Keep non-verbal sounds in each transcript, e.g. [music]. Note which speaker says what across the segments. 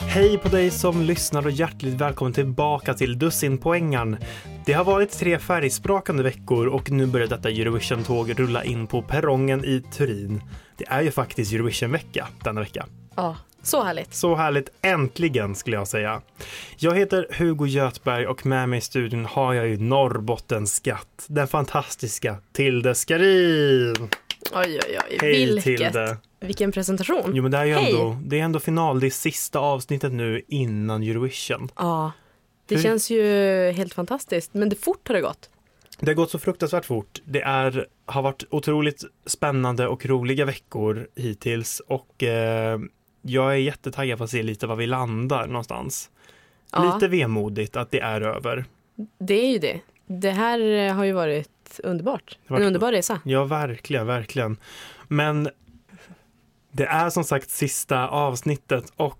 Speaker 1: Hej på dig som lyssnar och hjärtligt välkommen tillbaka till Dussinpoängan. Det har varit tre färgsprakande veckor och nu börjar detta Eurovision-tåg rulla in på perrongen i Turin. Det är ju faktiskt Eurovision-vecka denna vecka.
Speaker 2: Ja, så härligt.
Speaker 1: Så härligt, äntligen skulle jag säga. Jag heter Hugo Götberg och med mig i studion har jag ju Norrbottens skatt, den fantastiska Tilde Skarin.
Speaker 2: Oj, oj, oj.
Speaker 1: Hej,
Speaker 2: Vilket,
Speaker 1: Tilde.
Speaker 2: Vilken presentation.
Speaker 1: Jo men det är ju
Speaker 2: Hej.
Speaker 1: ändå, det är ändå final, det är sista avsnittet nu innan Eurovision.
Speaker 2: Ja, det
Speaker 1: Hur-
Speaker 2: känns ju helt fantastiskt. Men det fort har det gått.
Speaker 1: Det har gått så fruktansvärt fort. Det är, har varit otroligt spännande och roliga veckor hittills och eh, jag är jättetaggad på att se lite var vi landar någonstans.
Speaker 2: Ja,
Speaker 1: Lite vemodigt att det är över.
Speaker 2: det är ju det. Det här eh, har ju varit underbart.
Speaker 1: har varit-
Speaker 2: En underbar resa.
Speaker 1: Ja, verkligen, verkligen. Men det är som sagt sista avsnittet och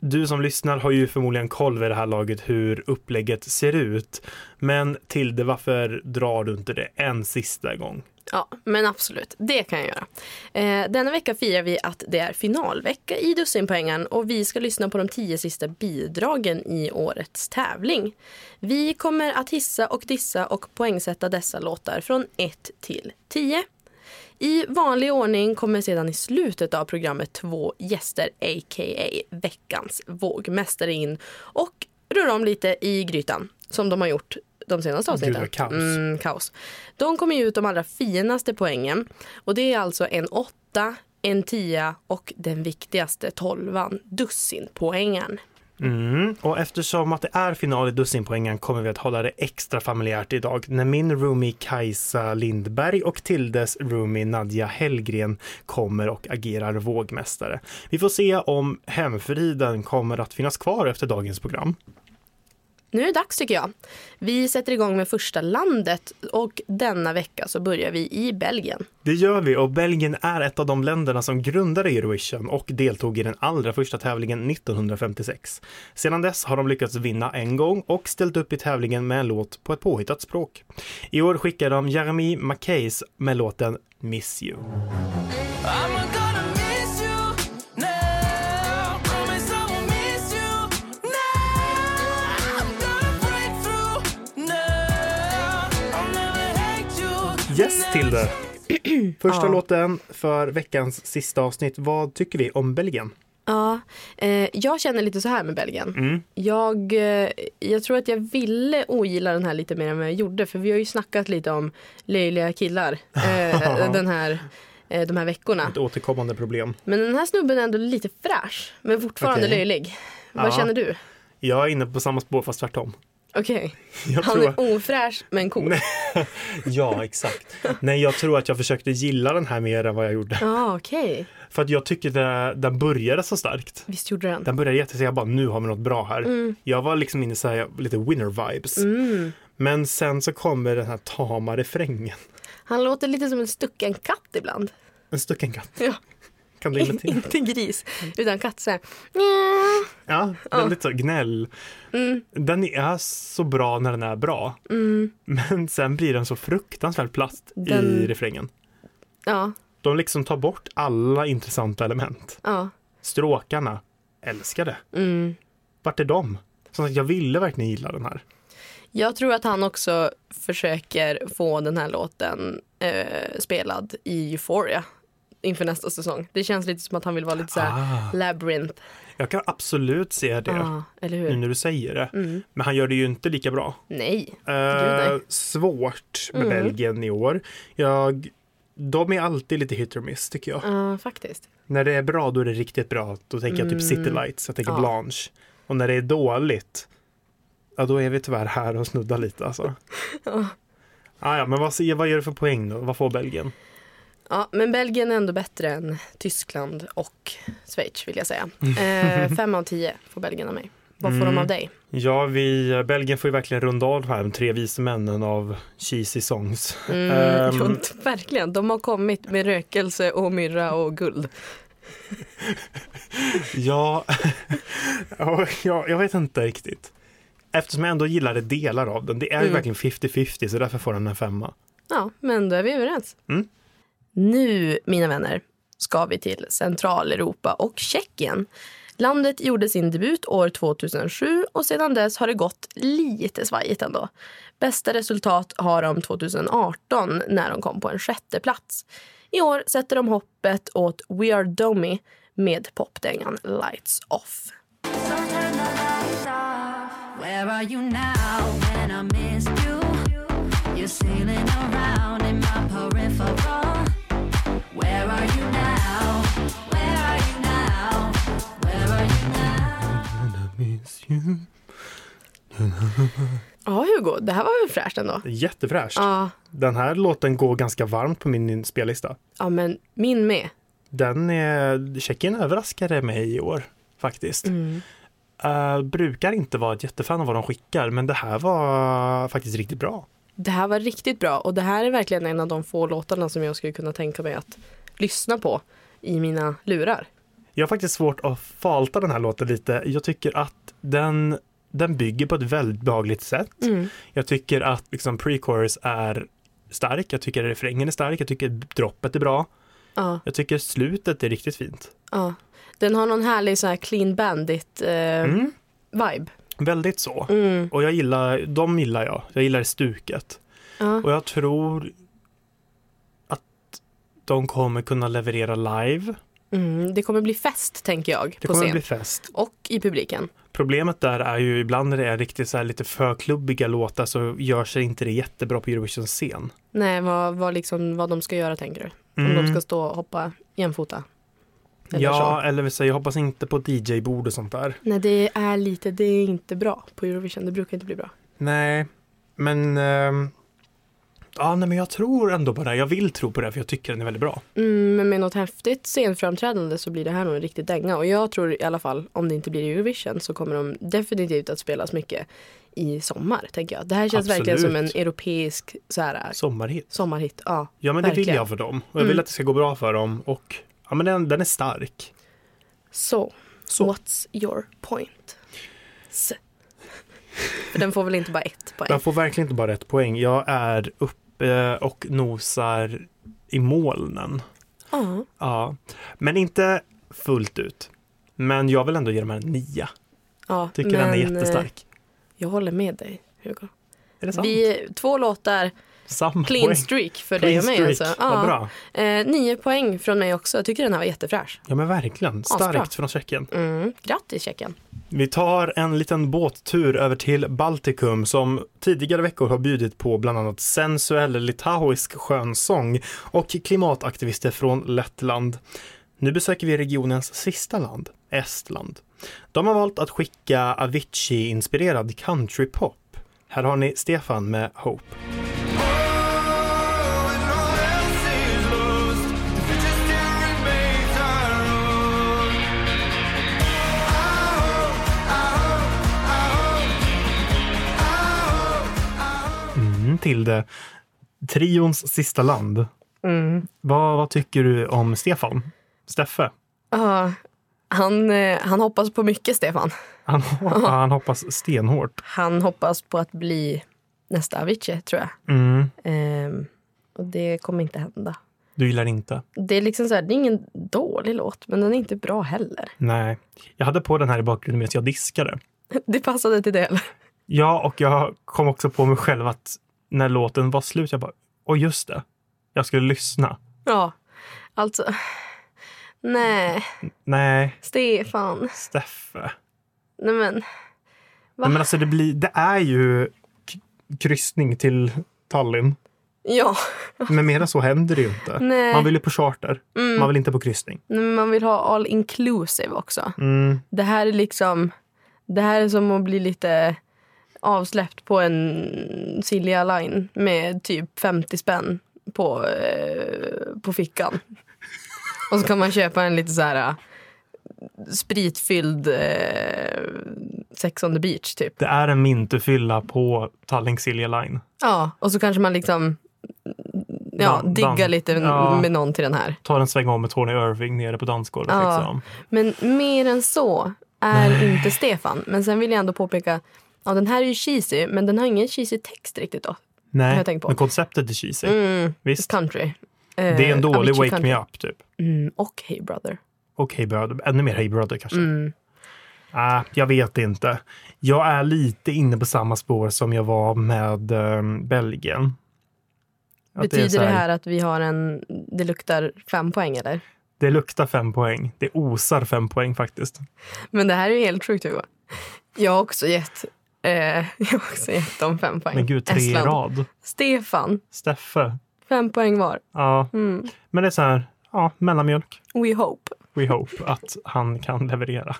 Speaker 1: du som lyssnar har ju förmodligen koll vid det här laget hur upplägget ser ut. Men Tilde, varför drar du inte det en sista gång?
Speaker 2: Ja, men absolut. Det kan jag göra. Eh, denna vecka firar vi att det är finalvecka i Dussinpoängen och vi ska lyssna på de tio sista bidragen i årets tävling. Vi kommer att hissa och dissa och poängsätta dessa låtar från 1 till 10. I vanlig ordning kommer sedan i slutet av programmet två gäster, a.k.a. veckans vågmästare in och rör om lite i grytan, som de har gjort de senaste avsnitten.
Speaker 1: vad kaos.
Speaker 2: Mm, kaos. De kommer ju ut de allra finaste poängen och det är alltså en åtta, en tia och den viktigaste tolvan, dussinpoängen.
Speaker 1: Mm. Och eftersom att det är final i dussinpoängen kommer vi att hålla det extra familjärt idag när min roomie Kajsa Lindberg och Tildes roomie Nadja Hellgren kommer och agerar vågmästare. Vi får se om hemfriden kommer att finnas kvar efter dagens program.
Speaker 2: Nu är det dags tycker jag. Vi sätter igång med första landet och denna vecka så börjar vi i Belgien.
Speaker 1: Det gör vi och Belgien är ett av de länderna som grundade Eurovision och deltog i den allra första tävlingen 1956. Sedan dess har de lyckats vinna en gång och ställt upp i tävlingen med en låt på ett påhittat språk. I år skickar de Jeremy Mackays med låten Miss You.
Speaker 3: I'm gonna miss you now. Promise I will miss you now. I'm gonna break through now. I'll never hate you.
Speaker 1: Yes, Tilde! Första
Speaker 2: Ja.
Speaker 1: låten för veckans sista avsnitt. Vad tycker vi om Belgien?
Speaker 2: Ja, eh, jag känner lite så här med Belgien.
Speaker 1: Mm.
Speaker 2: Jag, eh, jag tror att jag ville ogilla den här lite mer än vad jag gjorde för vi har ju snackat lite om löjliga killar
Speaker 1: [laughs]
Speaker 2: eh, den här, eh, de här veckorna.
Speaker 1: Ett återkommande problem.
Speaker 2: Men den här snubben är ändå lite fräsch men fortfarande
Speaker 1: Okej.
Speaker 2: löjlig. Vad
Speaker 1: Ja.
Speaker 2: känner du?
Speaker 1: Jag är inne på samma spår fast tvärtom.
Speaker 2: Okej,
Speaker 1: Jag
Speaker 2: han
Speaker 1: tror...
Speaker 2: är ofräsch men cool.
Speaker 1: Nej. Ja, exakt. Nej, jag tror att jag försökte gilla den här mer än vad jag gjorde.
Speaker 2: Ja, okej.
Speaker 1: För att jag tycker det, den började så starkt.
Speaker 2: Visst gjorde den.
Speaker 1: Den började jättestarkt, jag bara nu har vi något bra här. Jag var liksom inne i så här, lite winner-vibes. Men sen så kommer den här tama refrängen.
Speaker 2: Han låter lite som en stucken katt ibland.
Speaker 1: En stucken katt,
Speaker 2: Ja,
Speaker 1: kan du imitera?
Speaker 2: [laughs] inte gris, utan katt så här.
Speaker 1: Ja, väldigt så gnäll. Den är så bra när den är bra. Men sen blir den så fruktansvärt plast i
Speaker 2: Den-
Speaker 1: refrängen.
Speaker 2: Ja,
Speaker 1: De liksom tar bort alla intressanta element.
Speaker 2: ja. Mm.
Speaker 1: Stråkarna, älskade. Vart är de? Som sagt, jag ville verkligen gilla den här.
Speaker 2: Jag tror att han också försöker få den här låten eh, spelad i Euphoria inför nästa säsong. Det känns lite som att han vill vara lite så här
Speaker 1: Ah,
Speaker 2: Labyrinth.
Speaker 1: jag kan absolut se det
Speaker 2: Ja, eller hur? Mm.
Speaker 1: nu när du säger det. Men han gör det ju inte lika bra.
Speaker 2: Nej.
Speaker 1: Eh,
Speaker 2: nej. Mm.
Speaker 1: svårt med Belgien i år. Jag, de är alltid lite hit or miss tycker jag.
Speaker 2: Ja, faktiskt.
Speaker 1: När det är bra då är det riktigt bra. Då tänker jag typ City Lights, jag tänker
Speaker 2: Mm. Ja.
Speaker 1: Blanche. Och när det är dåligt, ja då är vi tyvärr här och snuddar lite alltså. Ah, ja, men vad, ser- vad gör du för poäng då? Vad får Belgien?
Speaker 2: Ja, men Belgien är ändå bättre Mm. än Tyskland och Schweiz vill jag säga. Eh, fem av tio får Belgien av mig. Vad får de av dig?
Speaker 1: Ja, vi, Belgien får ju verkligen runda av de här tre vise männen av cheesy songs.
Speaker 2: Mm,
Speaker 1: Ehm,
Speaker 2: ja, verkligen, de har kommit med rökelse och myrra och guld.
Speaker 1: Ja, [laughs] ja, jag, jag vet inte riktigt. Eftersom jag ändå gillade delar av den. Det är ju
Speaker 2: Mm.
Speaker 1: verkligen 50-50 så därför får den en femma.
Speaker 2: Ja, men då är vi överens.
Speaker 1: Mm.
Speaker 2: Nu, mina vänner, ska vi till Centraleuropa och Tjeckien. Landet gjorde sin debut år 2007 och sedan dess har det gått lite svajigt ändå. Bästa resultat har de 2018 när de kom på en sjätte plats. I år sätter de hoppet åt We Are Domi med popdängan Lights Off.
Speaker 4: turn the lights off. Where are you now when I missed you? You're sailing around in my peripheral. Where are you now? Where are you now? Where are you now?
Speaker 2: Ja, Hugo, det här var väl fräscht ändå?
Speaker 1: Jättefräscht.
Speaker 2: Ja,
Speaker 1: Den här låten går ganska varmt på min spellista.
Speaker 2: ja men min med.
Speaker 1: Den är, Tjeckien överraskade mig i år faktiskt.
Speaker 2: Mm.
Speaker 1: Eh, brukar inte vara ett jättefan av vad de skickar men det här var faktiskt riktigt bra.
Speaker 2: Det här var riktigt bra och det här är verkligen en av de få låtarna som jag skulle kunna tänka mig att lyssna på i mina lurar.
Speaker 1: Jag har faktiskt svårt att falta den här låten lite. Jag tycker att den, den bygger på ett väldigt behagligt sätt. Jag tycker att liksom pre-chorus är stark, jag tycker refrängen är stark, jag tycker droppet är bra.
Speaker 2: Ja,
Speaker 1: Jag tycker slutet är riktigt fint.
Speaker 2: ja. Den har någon härlig så här clean bandit eh,
Speaker 1: Mm.
Speaker 2: vibe.
Speaker 1: Väldigt så.
Speaker 2: Mm.
Speaker 1: Och jag gillar, de gillar jag. Jag gillar stuket.
Speaker 2: Ja.
Speaker 1: Och jag tror att de kommer kunna leverera live.
Speaker 2: Mm. Det kommer bli fest tänker jag
Speaker 1: Det
Speaker 2: på
Speaker 1: kommer
Speaker 2: scen
Speaker 1: bli fest.
Speaker 2: och i publiken.
Speaker 1: Problemet där är ju ibland när det är riktigt så här lite för klubbiga låtar så gör sig inte det jättebra på Eurovisions scen.
Speaker 2: Nej, vad, vad, liksom, vad de ska göra tänker du? Om de ska stå och hoppa jämfota? Eller
Speaker 1: Mm. ja, eller vill säga, jag hoppas inte på DJ-bord och sånt där.
Speaker 2: Nej, det är lite, det är inte bra på Eurovision. Det brukar inte bli bra.
Speaker 1: Nej, men... ehm, ja, nej, men jag tror ändå på det här. Jag vill tro på det här för jag tycker den är väldigt bra.
Speaker 2: Mm, men med något häftigt scenframträdande så blir det här nog en riktig dänga. Och jag tror i alla fall, om det inte blir Eurovision så kommer de definitivt att spelas mycket i sommar, tänker jag. Det här känns
Speaker 1: Absolut.
Speaker 2: verkligen som en europeisk så här,
Speaker 1: Sommarhit.
Speaker 2: sommarhit. Ja,
Speaker 1: Ja, men det vill
Speaker 2: verkligen. Mm.
Speaker 1: jag för dem. Och jag vill att det ska gå bra för dem. Och ja, men den, den är stark.
Speaker 2: Så,
Speaker 1: Så.
Speaker 2: what's your point? S. För den får väl inte bara ett poäng?
Speaker 1: Jag får verkligen inte bara ett poäng. Jag är uppe och nosar i molnen.
Speaker 2: Ja,
Speaker 1: Ja, men inte fullt ut. Men jag vill ändå ge dem här en nia.
Speaker 2: ja,
Speaker 1: Tycker den är
Speaker 2: men, eh,
Speaker 1: jättestark.
Speaker 2: Jag håller med dig, Hugo.
Speaker 1: Är det sant?
Speaker 2: Vi, två låtar,
Speaker 1: Samma
Speaker 2: clean
Speaker 1: poäng.
Speaker 2: streak för dig
Speaker 1: Clean
Speaker 2: och mig.
Speaker 1: streak.
Speaker 2: Alltså.
Speaker 1: Vad
Speaker 2: Ja.
Speaker 1: bra.
Speaker 2: Eh, nio poäng från mig också. Jag tycker den här var jättefräsch.
Speaker 1: Ja, men verkligen.
Speaker 2: Asbra.
Speaker 1: Starkt från Tjeckien.
Speaker 2: Mm, grattis Tjeckien.
Speaker 1: Vi tar en liten båttur över till Baltikum som tidigare veckor har bjudit på bland annat sensuell litauisk skönsång och klimataktivister från Lettland. Nu besöker vi regionens sista land, Estland. De har valt att skicka Avicii-inspirerad countrypop. Här har ni Stefan med Hope.
Speaker 3: Oh,
Speaker 1: Mm, till det. Trions sista land. Vad, vad tycker du om Stefan? Steffe?
Speaker 2: Ja, han, eh, han hoppas på mycket, Stefan.
Speaker 1: Han, [laughs] han hoppas stenhårt.
Speaker 2: Han hoppas på att bli nästa Avicii, tror jag.
Speaker 1: Mm,
Speaker 2: Ehm, och det kommer inte hända.
Speaker 1: du gillar inte?
Speaker 2: Det är liksom så här, det är ingen dålig låt, men den är inte bra heller. [laughs]
Speaker 1: Nej. Jag hade på den här i bakgrunden medan jag diskade.
Speaker 2: Det passade till det. eller?
Speaker 1: Ja, och jag kom också på mig själv att när låten var slut, jag bara, och just det, jag skulle lyssna.
Speaker 2: Ja, alltså. Nej,
Speaker 1: Nej,
Speaker 2: Stefan.
Speaker 1: Steffe.
Speaker 2: Nej men. Va?
Speaker 1: Nej, men alltså det, blir, det är ju k- kryssning till Tallinn.
Speaker 2: Ja,
Speaker 1: Men mer än så händer det ju inte.
Speaker 2: Nej. Mm.
Speaker 1: Man vill ju på charter. Man vill inte på kryssning.
Speaker 2: Nej, men man vill ha all inclusive också.
Speaker 1: Mm.
Speaker 2: Det här är liksom, det här är som att bli lite avsläppt på en Silja Line med typ 50 spänn på, eh, på fickan. Och så kan man köpa en lite så här eh, spritfylld eh, sex on the beach typ.
Speaker 1: Det är en mintufylla på Tallink Silja Line.
Speaker 2: Ja, och så kanske man liksom ja,
Speaker 1: Dan-
Speaker 2: diggar
Speaker 1: dan-
Speaker 2: lite
Speaker 1: ja.
Speaker 2: med någon till den här.
Speaker 1: Tar en sväng om med Tony Irving nere på dansgolvet.
Speaker 2: Ja.
Speaker 1: Liksom.
Speaker 2: Men mer än så är inte Stefan. Men sen vill jag ändå påpeka, ja den här är ju cheesy, men den har ingen cheesy text riktigt då.
Speaker 1: Nej,
Speaker 2: Jag tänker på.
Speaker 1: men konceptet är cheesy.
Speaker 2: Mm,
Speaker 1: Visst,
Speaker 2: country. Eh,
Speaker 1: det är en dålig
Speaker 2: Avicii
Speaker 1: Wake
Speaker 2: country.
Speaker 1: Me Up typ.
Speaker 2: Mm, och Hey Brother.
Speaker 1: Och Hey Brother, ännu mer Hey Brother kanske.
Speaker 2: Mm.
Speaker 1: Ah, jag vet inte. Jag är lite inne på samma spår som jag var med ehm, Belgien. Att är
Speaker 2: Betyder
Speaker 1: så
Speaker 2: det här att vi har en, det luktar fem poäng eller?
Speaker 1: Det luktar fem poäng. Det osar fem poäng faktiskt.
Speaker 2: Men det här är ju helt sjukt Hugo. Jag har också gett, eh, [laughs] jag har också gett dem fem poäng.
Speaker 1: Men gud, tre i
Speaker 2: Estland.
Speaker 1: rad.
Speaker 2: Stefan,
Speaker 1: Steffe.
Speaker 2: fem poäng var.
Speaker 1: Ja,
Speaker 2: Mm.
Speaker 1: men det är så här. Ja, mellanmjölk.
Speaker 2: We hope.
Speaker 1: We hope att han kan leverera.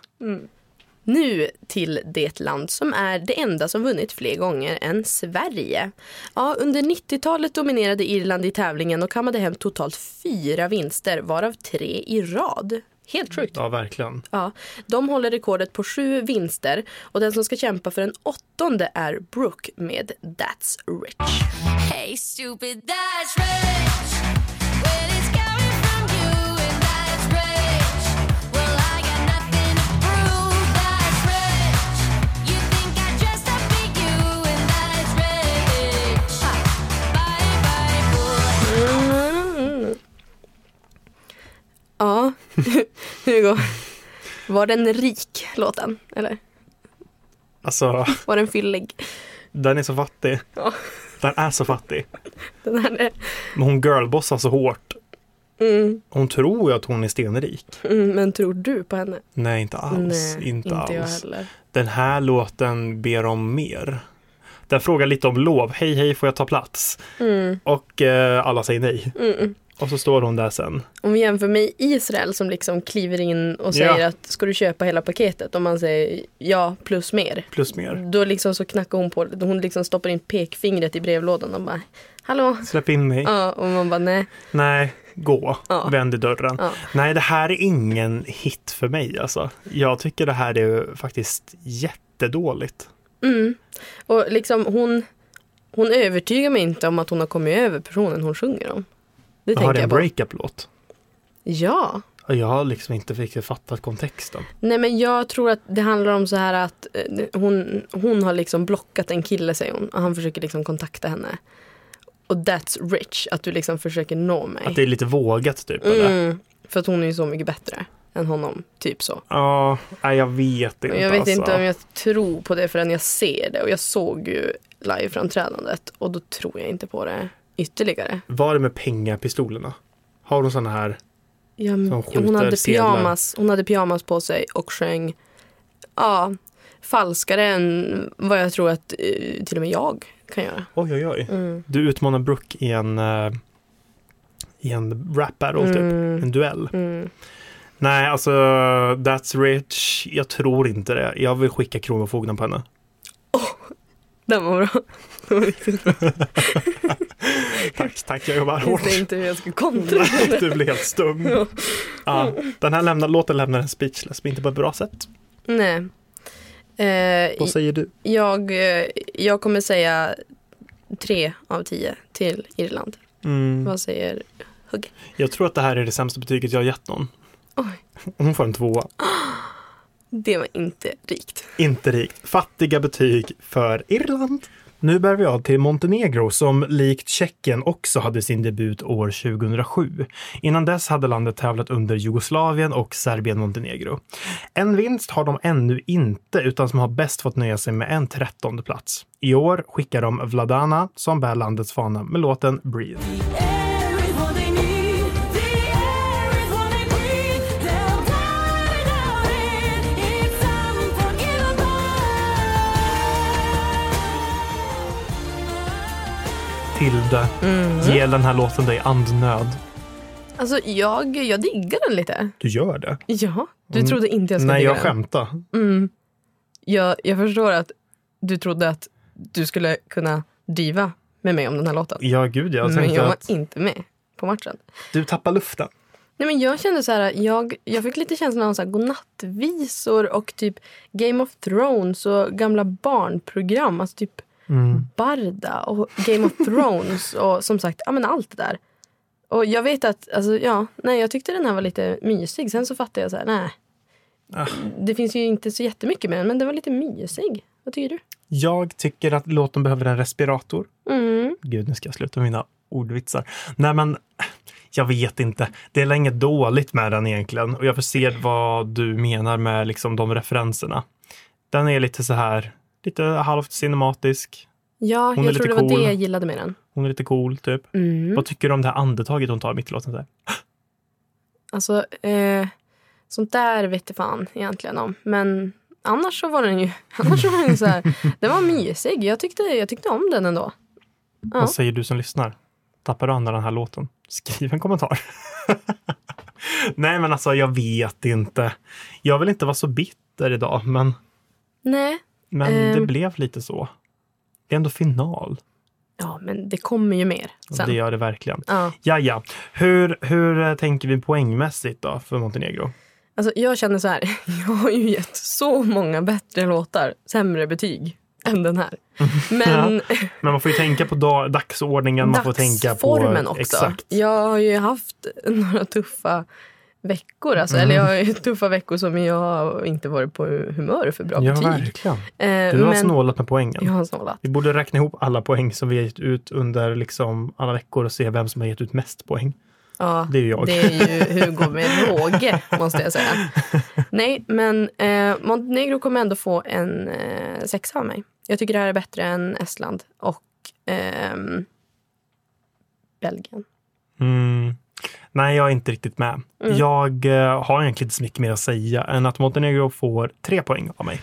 Speaker 2: Nu till det land som är det enda som vunnit fler gånger än Sverige. Ja, under 90-talet dominerade Irland i tävlingen och kammade hem totalt fyra vinster, varav tre i rad. Helt sjukt.
Speaker 1: Ja, verkligen.
Speaker 2: Ja, de håller rekordet på sju vinster och den som ska kämpa för en åttonde är Brooke med That's Rich.
Speaker 4: Hey, stupid, that's rich. Well, it's coming from you, and that's rich. Well, I got nothing to prove. That's rich. You think I dressed up for you, and that's rich. Bye, bye, boy.
Speaker 2: Ja, [laughs] Hugo. Var den rik, låten? Eller
Speaker 1: Alltså,
Speaker 2: var den fyllig?
Speaker 1: den är så fattig.
Speaker 2: Ja.
Speaker 1: Den är så fattig.
Speaker 2: Den här är,
Speaker 1: Men hon girlbossar så hårt.
Speaker 2: mm,
Speaker 1: Hon tror ju att hon är stenrik.
Speaker 2: mm, men tror du på henne?
Speaker 1: Nej, inte alls.
Speaker 2: Nej,
Speaker 1: inte,
Speaker 2: jag
Speaker 1: alls.
Speaker 2: heller.
Speaker 1: Den här låten ber om mer. Den frågar lite om lov. Hej, hej, får jag ta plats?
Speaker 2: Mm,
Speaker 1: Och eh, alla säger nej.
Speaker 2: mm, mm.
Speaker 1: Och så står hon där sen.
Speaker 2: Om vi jämför med Israel som liksom kliver in och säger
Speaker 1: Ja.
Speaker 2: att ska du köpa hela paketet? Om man säger ja plus mer.
Speaker 1: Plus mer.
Speaker 2: Då liksom så knackar hon på, hon liksom stoppar in pekfingret i brevlådan och bara hallå?
Speaker 1: Släpp in mig.
Speaker 2: Ja, och man bara nej.
Speaker 1: Nej, gå.
Speaker 2: Ja.
Speaker 1: Vänd i dörren.
Speaker 2: Ja.
Speaker 1: Nej, det här är ingen hit för mig alltså. Jag tycker det här är faktiskt jättedåligt.
Speaker 2: Mm. Och liksom hon, hon övertygar mig inte om att hon har kommit över personen hon sjunger om. Det
Speaker 1: Jag har
Speaker 2: tänker
Speaker 1: en
Speaker 2: jag på.
Speaker 1: breakup-låt.
Speaker 2: Ja.
Speaker 1: Och Jag har liksom inte riktigt fattat kontexten.
Speaker 2: Nej men jag tror att det handlar om så här att eh,
Speaker 1: Mm.
Speaker 2: hon, hon har liksom blockat en kille säger hon och han försöker liksom kontakta henne. Och that's rich, att du liksom försöker nå
Speaker 1: Att
Speaker 2: mig.
Speaker 1: det är lite vågat typ. Eller?
Speaker 2: Mm, för att hon är ju så mycket bättre än honom, typ så.
Speaker 1: Ja, nej, jag vet inte.
Speaker 2: Men jag vet
Speaker 1: alltså.
Speaker 2: inte om jag tror på det förrän jag ser det och jag såg ju liveframträdandet och då tror jag inte på det ytterligare.
Speaker 1: Var det med pengapistolerna? Har de såna här?
Speaker 2: Ja,
Speaker 1: Som skjuter
Speaker 2: hon, hade
Speaker 1: sedlar.
Speaker 2: pyjamas, hon hade pyjamas på sig och sjöng ja, falskare än vad jag tror att eh, till och med jag kan göra.
Speaker 1: Oj, oj, oj.
Speaker 2: Mm.
Speaker 1: Du utmanar Brooke i en, eh, i en rap battle, typ.
Speaker 2: Mm.
Speaker 1: En duell.
Speaker 2: Mm.
Speaker 1: Nej, alltså That's Rich. Jag tror inte det. Jag vill skicka
Speaker 2: [laughs]
Speaker 1: Kronofogden på henne.
Speaker 2: Den var bra. [laughs] Den var
Speaker 1: [laughs]
Speaker 2: riktigt bra.
Speaker 1: Tack, tack. Jag jobbar
Speaker 2: Jag
Speaker 1: hårt. [laughs]
Speaker 2: visste inte hur jag skulle kontra. [laughs]
Speaker 1: Du blev helt stum.
Speaker 2: Ja.
Speaker 1: Ja, den här lämnar, låten lämnar en speechless, men inte på ett bra sätt.
Speaker 2: Nej. Eh,
Speaker 1: Vad säger du?
Speaker 2: jag, eh, jag kommer säga tre av tio till Irland.
Speaker 1: Mm.
Speaker 2: Vad säger Hugge?
Speaker 1: Jag tror att det här är det sämsta betyget jag har gett någon.
Speaker 2: Oj.
Speaker 1: Hon får en tvåa.
Speaker 2: Det var inte rikt.
Speaker 1: Inte rikt. Fattiga betyg för Irland. Nu bär vi av till Montenegro som likt Tjeckien också hade sin debut år 2007. Innan dess hade landet tävlat under Jugoslavien och Serbien-Montenegro. En vinst har de ännu inte utan som har bäst fått nöja sig med en trettonde plats. I år skickar de Vladana som bär landets fana med låten Breathe.
Speaker 3: Air is what they need. The air is what they breathe. They'll die without it. It's unforgivable.
Speaker 1: Tilde,
Speaker 2: Mm.
Speaker 1: ge den här låten dig andnöd.
Speaker 2: Alltså jag, jag diggar den lite.
Speaker 1: Du gör det?
Speaker 2: Ja, du trodde inte jag skulle
Speaker 1: Mm. Nej,
Speaker 2: digga
Speaker 1: jag
Speaker 2: den.
Speaker 1: skämtar.
Speaker 2: Mm. Jag, jag förstår att du trodde att du skulle kunna driva med mig om den här låten.
Speaker 1: Ja, gud, jag
Speaker 2: men
Speaker 1: tänkte
Speaker 2: Mm, jag var
Speaker 1: att
Speaker 2: inte med på matchen.
Speaker 1: du tappar luften.
Speaker 2: Nej, men jag kände så här, jag, jag fick lite känslan av så här, godnattvisor och typ Game of Thrones och gamla barnprogram. Alltså typ Barda och Game of
Speaker 1: [laughs]
Speaker 2: Thrones och som sagt, ja men allt det där. Och jag vet att, alltså ja, nej jag tyckte den här var lite mysig. Sen så fattade jag så här, nej.
Speaker 1: Ah.
Speaker 2: Det finns ju inte så jättemycket med den, men den var lite mysig. Vad tycker du?
Speaker 1: Jag tycker att låten behöver en respirator.
Speaker 2: Mm.
Speaker 1: Gud, nu ska jag sluta med mina ordvitsar. Nej, men jag vet inte. Det är länge dåligt med den egentligen och jag förser vad du menar med liksom de referenserna. Den är lite så här, lite halvt cinematisk.
Speaker 2: Ja,
Speaker 1: Hon är
Speaker 2: jag tror det
Speaker 1: lite
Speaker 2: var
Speaker 1: cool.
Speaker 2: det jag gillade med den.
Speaker 1: Hon är lite cool, typ.
Speaker 2: Mm.
Speaker 1: Vad tycker du om det här andetaget hon tar mitt i låten? Så här?
Speaker 2: Alltså, eh, sånt där vet jag fan egentligen om. Men annars så var den ju, [laughs] annars så var den ju så här, den var mysig. Jag tyckte, jag tyckte om den ändå. Ja.
Speaker 1: Vad säger du som lyssnar? Tappar du andan den här låten? Skriv en kommentar. [laughs] Nej, men alltså, jag vet inte. Jag vill inte vara så bitter idag, men
Speaker 2: Nej,
Speaker 1: Men det
Speaker 2: Ehm.
Speaker 1: blev lite så. Det är ändå final.
Speaker 2: ja men det kommer ju mer
Speaker 1: Det
Speaker 2: sen.
Speaker 1: gör det verkligen.
Speaker 2: Ja.
Speaker 1: Ja, ja. Hur, hur eh, tänker vi poängmässigt då för Montenegro?
Speaker 2: Alltså, jag känner så här, [laughs] jag har ju gett så många bättre låtar sämre betyg än
Speaker 1: [laughs]
Speaker 2: den här. Men [laughs]
Speaker 1: Men man får ju tänka på dag, dagsordningen. Man får tänka på
Speaker 2: dagsformen också.
Speaker 1: Exakt.
Speaker 2: Jag har ju haft några tuffa veckor. Alltså, Eller jag har
Speaker 1: Mm.
Speaker 2: ju tuffa veckor som jag inte varit på humör för bra
Speaker 1: Ja,
Speaker 2: betyg.
Speaker 1: verkligen.
Speaker 2: Eh,
Speaker 1: Du har
Speaker 2: men-
Speaker 1: snålat med poängen.
Speaker 2: Jag har snålat.
Speaker 1: Vi borde räkna ihop alla poäng som vi har gett ut under liksom alla veckor och se vem som har gett ut mest poäng.
Speaker 2: Ja,
Speaker 1: Det är ju jag.
Speaker 2: det är ju Hugo med råge, måste jag säga. Nej, men eh, Montenegro kommer ändå få en eh, sexa av mig. Jag tycker det här är bättre än Estland och ehm, Belgien.
Speaker 1: Mm. Nej, jag är inte riktigt med. Jag eh, har egentligen inte så mycket mer att säga än att Montenegro får tre poäng av mig.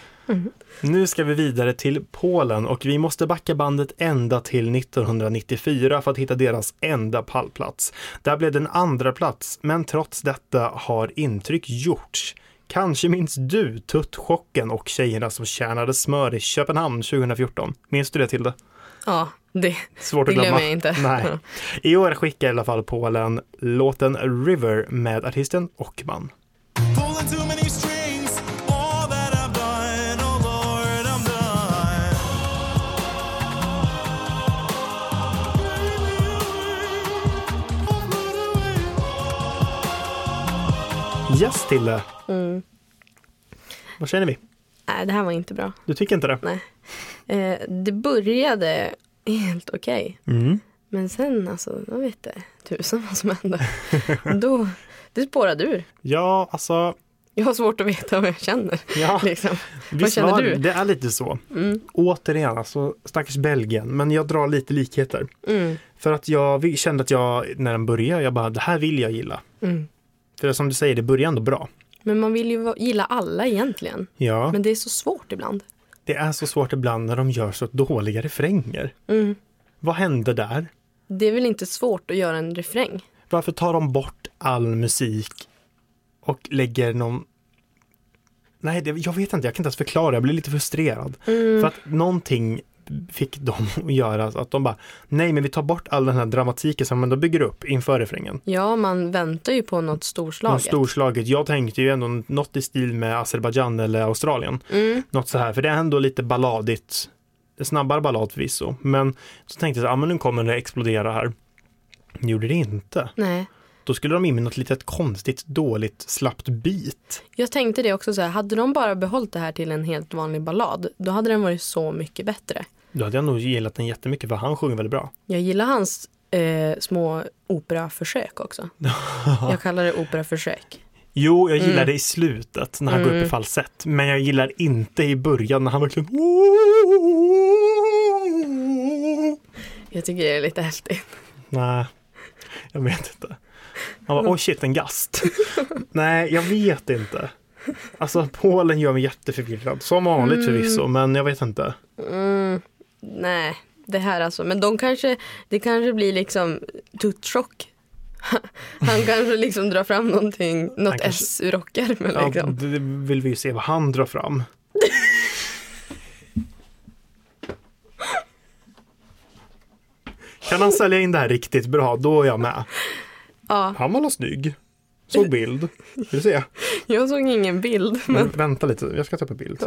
Speaker 1: Nu ska vi vidare till Polen och vi måste backa bandet ända till 1994 för att hitta deras enda pallplats. Där blev det en andra plats, men trots detta har intryck gjorts. Kanske minns du tuttchocken och tjejerna som tjänade smör i Köpenhamn 2014. Minns du det Tilde?
Speaker 2: Ja, det,
Speaker 1: Svårt
Speaker 2: det
Speaker 1: att glömma.
Speaker 2: glömmer jag inte.
Speaker 1: Nej. I år skickar i alla fall Polen låten River med artisten Ockman.
Speaker 3: Pulling too many strings, all that I've done, oh Lord, I'm done.
Speaker 1: Yes, Tilde.
Speaker 2: Mm.
Speaker 1: Vad känner vi?
Speaker 2: Nej, det här var inte bra.
Speaker 1: Du tycker inte det?
Speaker 2: Nej. Eh, det började helt okej.
Speaker 1: Mm.
Speaker 2: Men sen, alltså, jag vet det, tusen vad som hände. Då, det spårade ur.
Speaker 1: Ja, alltså.
Speaker 2: Jag har svårt att veta vad jag känner.
Speaker 1: Ja,
Speaker 2: Liksom. [laughs] Vad
Speaker 1: visst
Speaker 2: känner
Speaker 1: var,
Speaker 2: du? Mm.
Speaker 1: Det är lite så. Återigen, alltså stackars Belgien, men jag drar lite likheter.
Speaker 2: Mm.
Speaker 1: För att jag vi- kände att jag, när den började, jag bara, det här vill jag gilla.
Speaker 2: Mm.
Speaker 1: För som du säger, det börjar ändå bra.
Speaker 2: Men man vill ju va- gilla alla egentligen.
Speaker 1: Ja,
Speaker 2: Men det är så svårt ibland.
Speaker 1: det är så svårt ibland när de gör så dåliga refränger.
Speaker 2: Mm.
Speaker 1: Vad hände där?
Speaker 2: Det är väl inte svårt att göra en refräng?
Speaker 1: Varför tar de bort all musik och lägger någon... Nej, det, jag vet inte, jag kan inte ens förklara, jag blir lite frustrerad. För att någonting fick dem [laughs] att göra så att de bara, nej men vi tar bort all den här dramatiken som man då bygger upp inför refrängen.
Speaker 2: Ja, man väntar ju på något
Speaker 1: Något
Speaker 2: storslaget.
Speaker 1: storslaget. Jag tänkte ju ändå något i stil med Azerbajdzjan eller Australien.
Speaker 2: Mm.
Speaker 1: Något så här, för det är ändå lite balladigt. En Snabbare ballad förvisso, men så tänkte jag, ja ah, men nu kommer det explodera här. Gjorde det inte.
Speaker 2: Nej.
Speaker 1: Då skulle de in med något litet konstigt, dåligt, slappt bit.
Speaker 2: Jag tänkte det också så här, hade de bara behållit det här till en helt vanlig ballad, då hade den varit så mycket bättre.
Speaker 1: Då hade jag nog gillat den jättemycket för han sjunger väldigt bra.
Speaker 2: Jag gillar hans eh, små operaförsök också. jag kallar det operaförsök.
Speaker 1: Jo, jag gillar det i slutet när han går upp i falsett, men jag gillar inte i början när han verkligen
Speaker 2: Jag tycker det är lite häftigt.
Speaker 1: Nej, jag vet inte. Han bara, oh shit, en gast. Nej, jag vet inte. Alltså, Polen gör mig jätteförvirrad. Som vanligt förvisso, men jag vet inte.
Speaker 2: Mm, Nej, det här alltså. Men de kanske, det kanske blir liksom tuttchock. [laughs] Han kanske liksom drar fram någonting, något
Speaker 1: kanske-
Speaker 2: S ur rockärmen
Speaker 1: Ja,
Speaker 2: liksom.
Speaker 1: det vill vi ju se vad han drar fram. kan han sälja in det här riktigt bra, då är jag med.
Speaker 2: Ja.
Speaker 1: Han var nog snygg. Såg bild. Vill du se?
Speaker 2: Jag såg ingen bild. [laughs]
Speaker 1: Men vänta lite, jag ska ta upp en bild.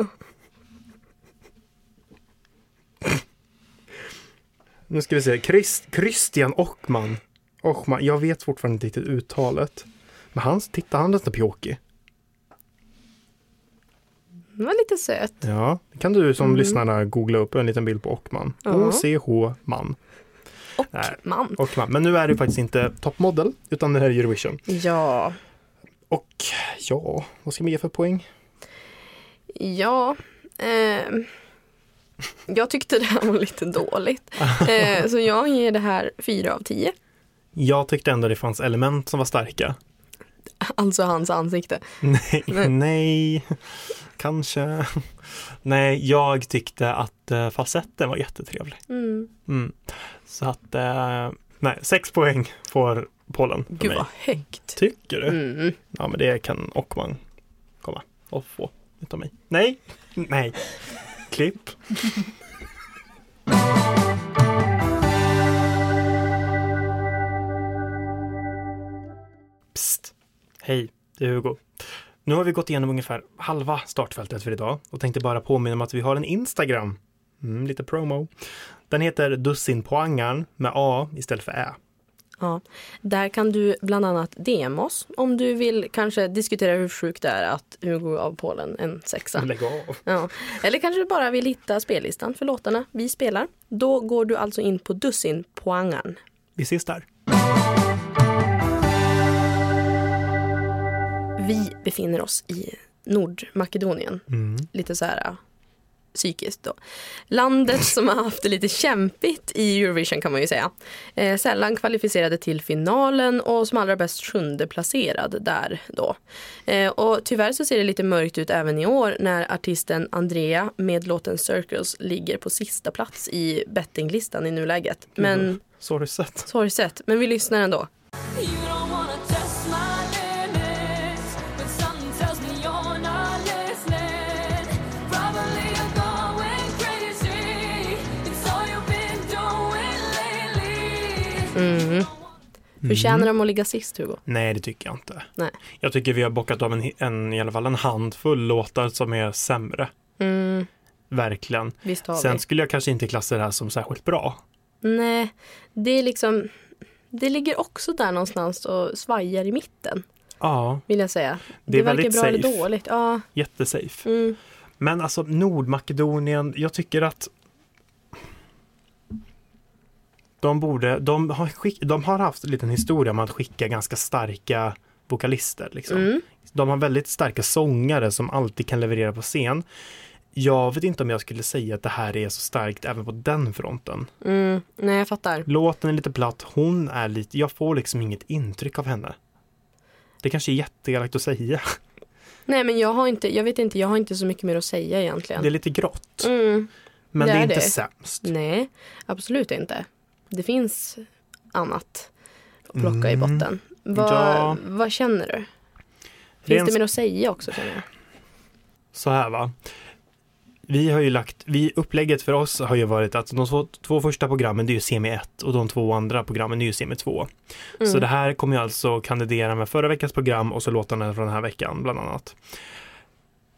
Speaker 1: Nu ska vi se, Christ, Christian Ochman. Ochman. Jag vet fortfarande inte riktigt uttalet. Men han, titta han är nästan pjåkig.
Speaker 2: Den var lite söt.
Speaker 1: Ja, det kan du som lyssnare googla upp en liten bild på Ochman.
Speaker 2: Mm. Ja.
Speaker 1: O-C-H-man.
Speaker 2: Och
Speaker 1: Nej.
Speaker 2: man.
Speaker 1: Ochman. Men nu är det ju faktiskt inte toppmodell, utan det här är Eurovision.
Speaker 2: Ja.
Speaker 1: Och ja, vad ska man ge för poäng?
Speaker 2: Ja. ehm, jag tyckte det här var
Speaker 1: [laughs]
Speaker 2: lite dåligt. Eh, så jag ger det här 4 av 10.
Speaker 1: Jag tyckte ändå det fanns element som var starka. [laughs]
Speaker 2: Alltså hans ansikte.
Speaker 1: Nej,
Speaker 2: Nej.
Speaker 1: nej, [laughs] kanske. [laughs] Nej, jag tyckte att eh, falsetten var jättetrevlig.
Speaker 2: Mm.
Speaker 1: Mm. Så att, eh, nej, sex poäng får Polen för
Speaker 2: Gud
Speaker 1: mig. Typ.
Speaker 2: vad högt.
Speaker 1: Tycker du?
Speaker 2: Mm.
Speaker 1: Ja, men det kan Ockman komma och få utav mig. Nej, nej, klipp. Psst, hej, det är Hugo. Nu har vi gått igenom ungefär halva startfältet för idag och tänkte bara påminna om att vi har en Instagram. Mm, lite promo. Den heter Dussinpoangaren med A istället för Ä.
Speaker 2: Ja. Där kan du bland annat DM oss om du vill kanske diskutera hur sjukt det är att Hugo av Polen en sexa.
Speaker 1: Lägg av.
Speaker 2: Ja. Eller kanske du bara vill hitta spellistan för låtarna vi spelar. Då går du alltså in på dussinpoangan.
Speaker 1: Vi ses där.
Speaker 2: Vi befinner oss i Nordmakedonien.
Speaker 1: Mm.
Speaker 2: Lite så här äh, psykiskt då. Landet som har haft det lite kämpigt i Eurovision kan man ju säga. Eh, sällan kvalificerade till finalen och som allra bäst sjunde placerad där då. Eh, och tyvärr så ser det lite mörkt ut även i år när artisten Andrea med låten Circles ligger på sista plats i bettinglistan i nuläget.
Speaker 1: Mm.
Speaker 2: Men
Speaker 1: Sorgset.
Speaker 2: sorgset, men vi lyssnar ändå.
Speaker 3: You don't wanna test my limits, but something tells me you're not listening. Probably you're going crazy. It's all you've been doing lately.
Speaker 2: Förtjänar
Speaker 1: Mm.
Speaker 2: de att ligga sist Hugo?
Speaker 1: Nej, det tycker jag inte.
Speaker 2: Nej.
Speaker 1: Jag tycker vi har bockat av en, en, i alla fall en handfull låtar som är sämre.
Speaker 2: Mm,
Speaker 1: Verkligen.
Speaker 2: visst har vi.
Speaker 1: Sen skulle jag kanske inte klassa det här som särskilt bra.
Speaker 2: Nej, det är liksom... Det ligger också där någonstans och svajar i mitten,
Speaker 1: Ja,
Speaker 2: vill jag säga.
Speaker 1: Det är
Speaker 2: verkar bra
Speaker 1: väldigt
Speaker 2: eller
Speaker 1: safe.
Speaker 2: dåligt. Ja,
Speaker 1: jättesafe.
Speaker 2: mm,
Speaker 1: Men alltså Nordmakedonien, jag tycker att de borde, de har, skick, de har haft en liten historia om att skicka ganska starka vokalister. Liksom.
Speaker 2: mm.
Speaker 1: De har väldigt starka sångare som alltid kan leverera på scen. Jag vet inte om jag skulle säga att det här är så starkt även på den fronten.
Speaker 2: Mm, nej, jag fattar.
Speaker 1: Låten är lite platt, hon är lite, jag får liksom inget intryck av henne. Det kanske är jätteelakt att säga.
Speaker 2: Nej, men jag har inte, jag vet inte, jag har inte så mycket mer att säga egentligen.
Speaker 1: Det är lite grått,
Speaker 2: Mm,
Speaker 1: men
Speaker 2: det
Speaker 1: det är,
Speaker 2: är
Speaker 1: inte
Speaker 2: det. Mm.
Speaker 1: sämst.
Speaker 2: nej, absolut inte. Det finns annat att plocka i
Speaker 1: Mm,
Speaker 2: botten. Vad,
Speaker 1: ja.
Speaker 2: vad känner du? Finns
Speaker 1: Rent
Speaker 2: det mer att säga också känner jag?
Speaker 1: så här va. Vi har ju lagt, vi, upplägget för oss har ju varit att de två, två första programmen det är ju semi 1 och de två andra programmen det är ju semi 2.
Speaker 2: Mm.
Speaker 1: Så det här kommer ju alltså kandidera med förra veckans program och så låtarna från den här veckan bland annat.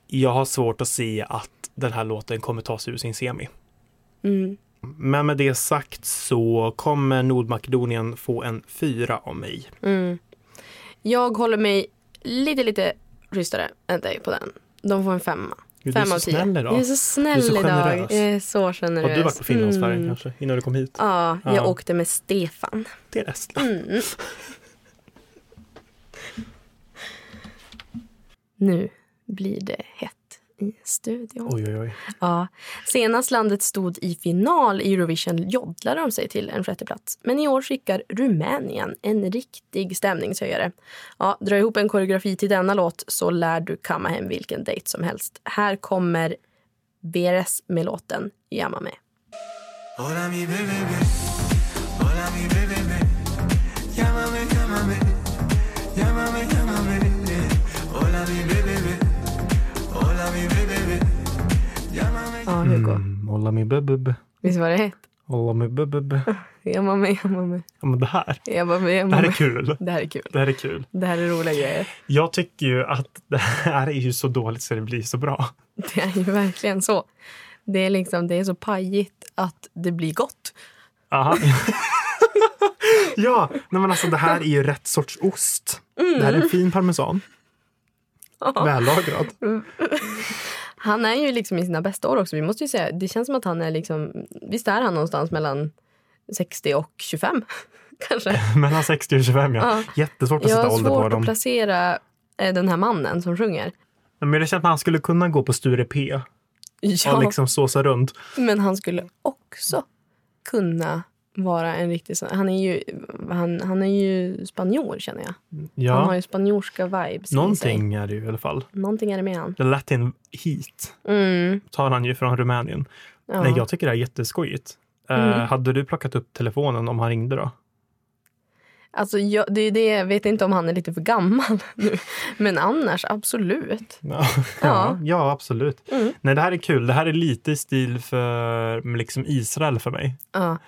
Speaker 1: Jag har svårt att se att den här låten kommer ta sig ur sin semi.
Speaker 2: Mm.
Speaker 1: Men med det sagt så kommer Nordmakedonien få en fyra av mig.
Speaker 2: Mm. Jag håller mig lite, lite schysstare än dig på den. De får en femma.
Speaker 1: Gud, du är
Speaker 2: Fem av
Speaker 1: så
Speaker 2: tio.
Speaker 1: snäll
Speaker 2: Du är
Speaker 1: idag.
Speaker 2: så snäll
Speaker 1: Du är så
Speaker 2: idag.
Speaker 1: generös.
Speaker 2: Jag är så generös.
Speaker 1: Har du varit på Finlandsfärjan
Speaker 2: Mm.
Speaker 1: kanske innan du kom hit?
Speaker 2: Ja, jag
Speaker 1: Ja.
Speaker 2: åkte med Stefan.
Speaker 1: Det är Estland. [laughs]
Speaker 2: Mm. nu blir det hett i studion.
Speaker 1: Oj, oj, oj.
Speaker 2: Ja. Senast landet stod i final i Eurovision joddlade de sig till en sjätteplats. Men i år skickar Rumänien en riktig stämningshöjare. Ja, dra ihop en koreografi till denna låt så lär du kamma hem vilken dejt som helst. Här kommer Beres med låten Jamma med.
Speaker 5: Hola mi bebé, hola mi bebé, llámame, llámame, llámame, llámame. Hola mi bebé, hola mi bebé, llámame.
Speaker 2: Ja, Hugo.
Speaker 1: Mm, Olla mi bebub.
Speaker 2: Visst var det hett?
Speaker 1: Hålla med bu- bu- bu.
Speaker 2: Jag var med, jag var med.
Speaker 1: Ja, men det här.
Speaker 2: Jag var med, jag
Speaker 1: Det
Speaker 2: var
Speaker 1: här är
Speaker 2: med.
Speaker 1: kul.
Speaker 2: Det här är kul.
Speaker 1: Det här är kul.
Speaker 2: Det här är roliga [laughs] grejer.
Speaker 1: Jag tycker ju att det här är ju så dåligt så det blir så bra.
Speaker 2: Det är ju verkligen så. Det är, liksom, det är så pajigt att det blir gott.
Speaker 1: Aha. ja, nej men alltså det här är ju rätt sorts ost. Det
Speaker 2: Mm.
Speaker 1: här är en fin parmesan. Vällagrad.
Speaker 2: Han är ju liksom i sina bästa år också. Vi måste ju säga, det känns som att han är liksom, visst är han någonstans mellan 60 och 25 [laughs] kanske?
Speaker 1: Mellan 60 och 25 ja.
Speaker 2: Ja.
Speaker 1: Jättesvårt att
Speaker 2: Jag
Speaker 1: sätta
Speaker 2: har
Speaker 1: ålder på
Speaker 2: svårt att
Speaker 1: dem.
Speaker 2: placera eh, den här mannen som sjunger.
Speaker 1: Nej, Men det känns att han skulle kunna gå på Sture P och
Speaker 2: Ja,
Speaker 1: liksom såsa runt.
Speaker 2: men han skulle också kunna vara en riktig sån. Han är ju, han, han är ju spanjor känner jag. Han har
Speaker 1: Ja,
Speaker 2: ju spanjorska vibes i sig.
Speaker 1: någonting är det ju i alla fall.
Speaker 2: Någonting är det med han.
Speaker 1: The Latin Heat
Speaker 2: Mm,
Speaker 1: tar han ju från Rumänien.
Speaker 2: ja. Mm.
Speaker 1: Nej, jag tycker det här är jätteskojigt. Eh, hade du plockat upp telefonen om han ringde då? [laughs]
Speaker 2: Alltså, jag, det är det, jag vet inte om han är lite för gammal [laughs] nu. Men annars, absolut.
Speaker 1: Ja, ja. ja absolut.
Speaker 2: Mm.
Speaker 1: Nej, det här är kul. Det här är lite i stil för mm, liksom Israel för mig.
Speaker 2: Ja.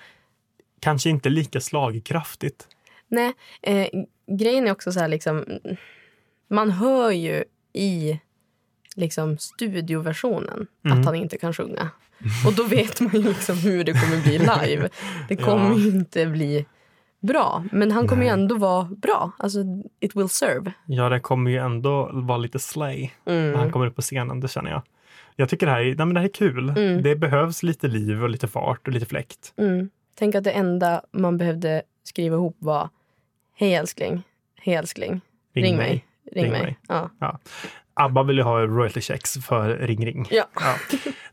Speaker 1: Kanske inte lika slagkraftigt.
Speaker 2: Nej, eh, grejen är också så här liksom... Man hör ju i liksom studioversionen att han inte kan sjunga. Och då vet man ju liksom hur det kommer bli live. [laughs] Det kommer
Speaker 1: Ja.
Speaker 2: ju inte bli bra. Men han kommer ju ändå vara bra. Alltså, it will serve.
Speaker 1: Ja, det kommer ju ändå vara lite slay när
Speaker 2: Mm.
Speaker 1: han kommer upp på scenen, det känner jag. Jag tycker det här är, nej, men det här är kul. Det behövs lite liv och lite fart och lite fläkt.
Speaker 2: Mm. Tänk att det enda man behövde skriva ihop var Hej älskling, hej älskling, ring, mig. Ring, mig. Ja.
Speaker 1: Ja. ABBA vill ju ha royalty checks för Ring Ring.
Speaker 2: ja,
Speaker 1: Ja.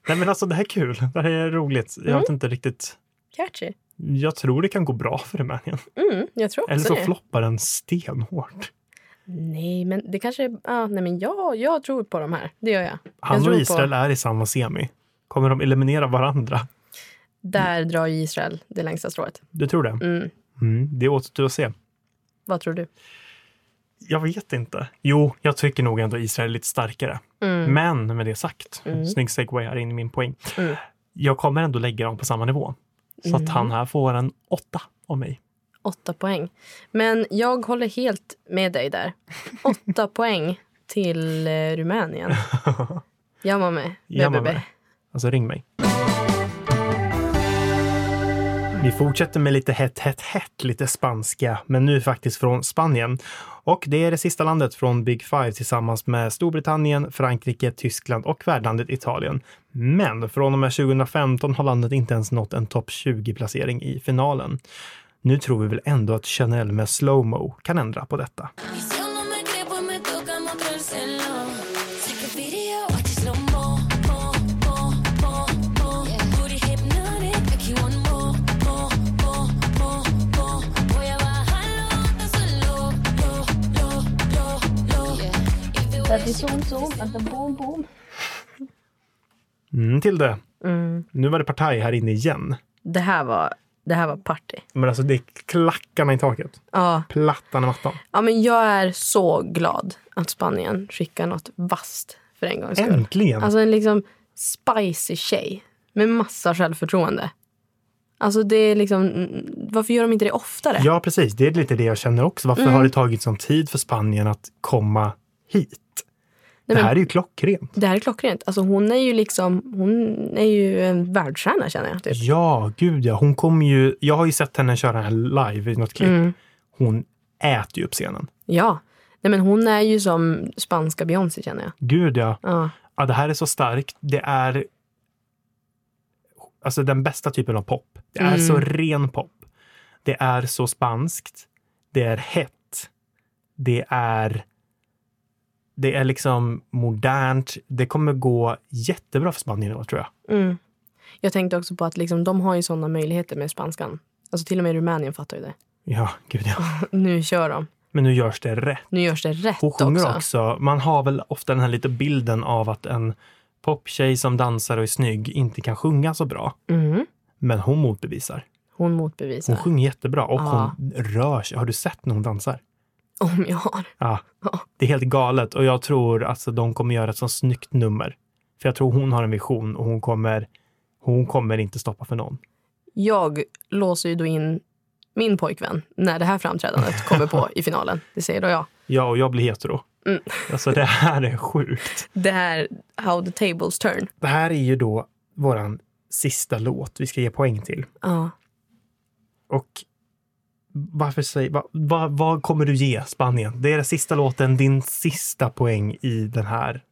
Speaker 1: Nej, men alltså det här är kul. Det här är roligt. Jag
Speaker 2: Mm.
Speaker 1: vet inte riktigt.
Speaker 2: catchy.
Speaker 1: Jag tror det kan gå bra för Rumänien.
Speaker 2: Mm, jag tror också
Speaker 1: Eller så
Speaker 2: det.
Speaker 1: floppar den stenhårt.
Speaker 2: Nej, men det kanske är... Ja, nej, men jag, jag tror på de här. Det gör jag. jag
Speaker 1: Han
Speaker 2: tror
Speaker 1: och
Speaker 2: på-
Speaker 1: Israel är i samma semi. Kommer de eliminera varandra?
Speaker 2: Där drar ju Israel det längsta strået.
Speaker 1: Du tror det?
Speaker 2: Mm.
Speaker 1: Mm, det återstår att se.
Speaker 2: Vad tror du?
Speaker 1: Jag vet inte. Jo, jag tycker nog ändå Israel är lite starkare.
Speaker 2: Mm.
Speaker 1: Men med det sagt, snygg segway här in i min poäng.
Speaker 2: Mm.
Speaker 1: Jag kommer ändå lägga dem på samma nivå. Så att han här får en åtta av mig.
Speaker 2: Åtta poäng. Men jag håller helt med dig där. Åtta poäng till eh, Rumänien. Jamame, BBB.
Speaker 1: Jamame. Alltså ring mig. Vi fortsätter med lite hett, hett, hett, lite spanska, men nu faktiskt från Spanien. Och det är det sista landet från Big Five tillsammans med Storbritannien, Frankrike, Tyskland och värdlandet Italien. Men från och med 2015 har landet inte ens nått en topp 20-placering i finalen. Nu tror vi väl ändå att Chanel med slowmo kan ändra på detta.
Speaker 6: Y si aún no me cree, pues me toca mostrárselo. Take a video, watch it slow mo, mo, mo, mo, mo. Booty hypnotic, make you want more, more, more, more, more. Voy a bajarlo hasta solo, lo, lo, lo, lo. If it
Speaker 7: That is zoom zoom and the boom boom.
Speaker 1: Mm, till det. Nu var det partaj här inne igen.
Speaker 2: Det här var, det här var party.
Speaker 1: Men alltså det är klackarna i taket.
Speaker 2: Ja.
Speaker 1: Plattan i mattan.
Speaker 2: ja, men jag är så glad att Spanien skickar något vasst för en gångs skull.
Speaker 1: Äntligen!
Speaker 2: Alltså en liksom spicy tjej med massa självförtroende. Alltså det är liksom, mm, varför gör de inte det oftare?
Speaker 1: ja, precis. Det är lite det jag känner också. Varför
Speaker 2: Mm.
Speaker 1: har det tagit sån tid för Spanien att komma hit?
Speaker 2: Nej,
Speaker 1: Det
Speaker 2: men-
Speaker 1: här är ju klockrent.
Speaker 2: Det här är klockrent. Alltså hon är ju liksom, hon är ju en världsstjärna känner jag. Typ.
Speaker 1: Ja, gud ja. Hon kommer ju... Jag har ju sett henne köra den här live i något klipp.
Speaker 2: Mm.
Speaker 1: Hon äter ju upp scenen.
Speaker 2: Ja. Nej men hon är ju som spanska Beyoncé känner jag.
Speaker 1: Gud ja.
Speaker 2: Ja.
Speaker 1: ja. Det här är så starkt. Det är alltså den bästa typen av pop. Det är så ren pop. Det är så spanskt. Det är hett. Det är det är liksom modernt. Det kommer gå jättebra för Spanien i år, tror jag.
Speaker 2: Mm. Jag tänkte också på att liksom, de har ju sådana möjligheter med spanskan. Alltså till och med Rumänien fattar ju det. [laughs]
Speaker 1: Ja, gud ja.
Speaker 2: Nu kör de.
Speaker 1: Men nu görs det rätt.
Speaker 2: Nu görs det rätt
Speaker 1: Hon
Speaker 2: också.
Speaker 1: sjunger också. Man har väl ofta den här lite bilden av att en poptjej som dansar och är snygg inte kan sjunga så bra.
Speaker 2: Mm.
Speaker 1: Men hon motbevisar.
Speaker 2: Hon
Speaker 1: Hon
Speaker 2: motbevisar.
Speaker 1: sjunger jättebra och
Speaker 2: Ja.
Speaker 1: hon rör sig. Har du sett när hon dansar?
Speaker 2: Om jag har.
Speaker 1: Ja. Det är helt galet och jag tror att alltså, de kommer göra ett så snyggt nummer. För jag tror hon har en vision och hon kommer, hon kommer inte stoppa för någon.
Speaker 2: Jag låser ju då in min pojkvän när det här framträdandet kommer [laughs] på i finalen. Det säger då jag.
Speaker 1: Ja, och jag blir hetero.
Speaker 2: Mm.
Speaker 1: Alltså det här är sjukt.
Speaker 2: Det här How the tables turn.
Speaker 1: Det här är ju då våran sista låt vi ska ge poäng till.
Speaker 2: Ja.
Speaker 1: Och varför säger, va, va, vad kommer du ge Spanien? Det är den sista låten, din sista poäng i den här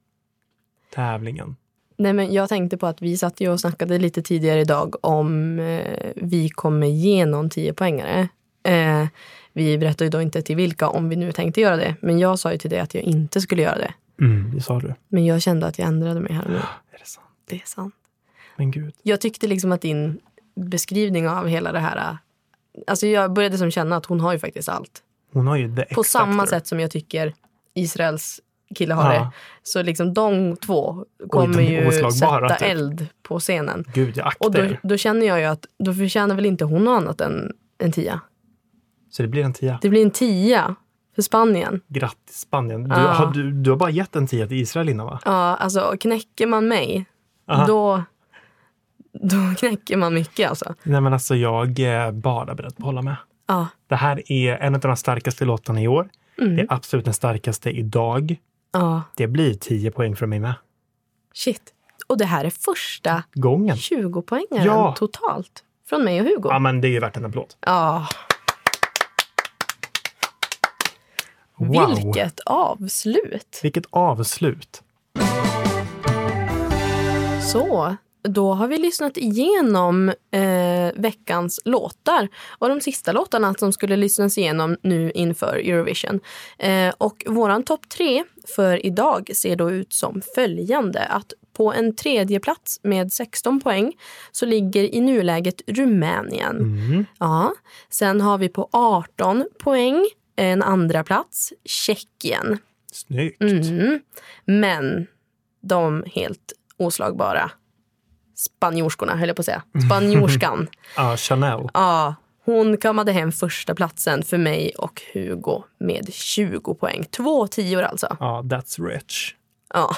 Speaker 1: tävlingen.
Speaker 2: Nej, men jag tänkte på att vi satt ju och snackade lite tidigare idag om eh, vi kommer ge någon 10-poängare. Eh, vi berättade ju då inte till vilka om vi nu tänkte göra det. Men jag sa ju till dig att jag inte skulle göra det.
Speaker 1: Mm, det sa du.
Speaker 2: Men jag kände att jag ändrade mig här och nu.
Speaker 1: Är det sant?
Speaker 2: [gasps] Det är sant.
Speaker 1: Men gud.
Speaker 2: Jag tyckte liksom att din beskrivning av hela det här... eh, Alltså jag började som känna att hon har ju faktiskt allt.
Speaker 1: Hon har ju det
Speaker 2: På samma sätt som jag tycker Israels kille har
Speaker 1: Ja.
Speaker 2: det. Så liksom de två kommer ju
Speaker 1: oslagbara,
Speaker 2: sätta
Speaker 1: typ.
Speaker 2: eld på scenen.
Speaker 1: Gud, jag
Speaker 2: Och
Speaker 1: aktar
Speaker 2: då,
Speaker 1: er.
Speaker 2: då känner jag ju att då förtjänar väl inte hon något annat än en tia.
Speaker 1: Så det blir en tia.
Speaker 2: Det blir en tia för Spanien.
Speaker 1: Grattis Spanien. Du,
Speaker 2: Ja.
Speaker 1: har, du, du har bara gett en tia till Israel innan va?
Speaker 2: Ja, alltså knäcker man mig,
Speaker 1: Aha.
Speaker 2: då, då [laughs] knäcker man mycket alltså.
Speaker 1: Nej men alltså jag är bara beredd på att hålla med.
Speaker 2: Ja,
Speaker 1: Det här är en av de starkaste låtarna i år.
Speaker 2: Mm.
Speaker 1: Det är absolut den starkaste idag.
Speaker 2: ja,
Speaker 1: Det blir 10 poäng från mig med.
Speaker 2: shit. Och det här är första
Speaker 1: Gången.
Speaker 2: 20-poängaren
Speaker 1: Ja.
Speaker 2: totalt från mig och Hugo.
Speaker 1: Ja men det är ju värt en applåd.
Speaker 2: Ja,
Speaker 1: Wow.
Speaker 2: vilket avslut.
Speaker 1: Vilket avslut.
Speaker 2: Så, då har vi lyssnat igenom eh, veckans låtar och de sista låtarna som skulle lyssnas igenom nu inför Eurovision. Eh, och våran topp tre för idag ser då ut som följande. Att på en tredje plats med 16 poäng så ligger i nuläget Rumänien. Ja. Sen har vi på 18 poäng en andra plats Tjeckien.
Speaker 1: Snyggt.
Speaker 2: Mm. Men de helt oslagbara spanjorskorna, höll jag på att säga. Spanjorskan.
Speaker 1: [laughs] Ja, Chanel.
Speaker 2: ja, hon kammade hem första platsen för mig och Hugo med 20 poäng. Två tior alltså.
Speaker 1: Ja, that's rich.
Speaker 2: Ja,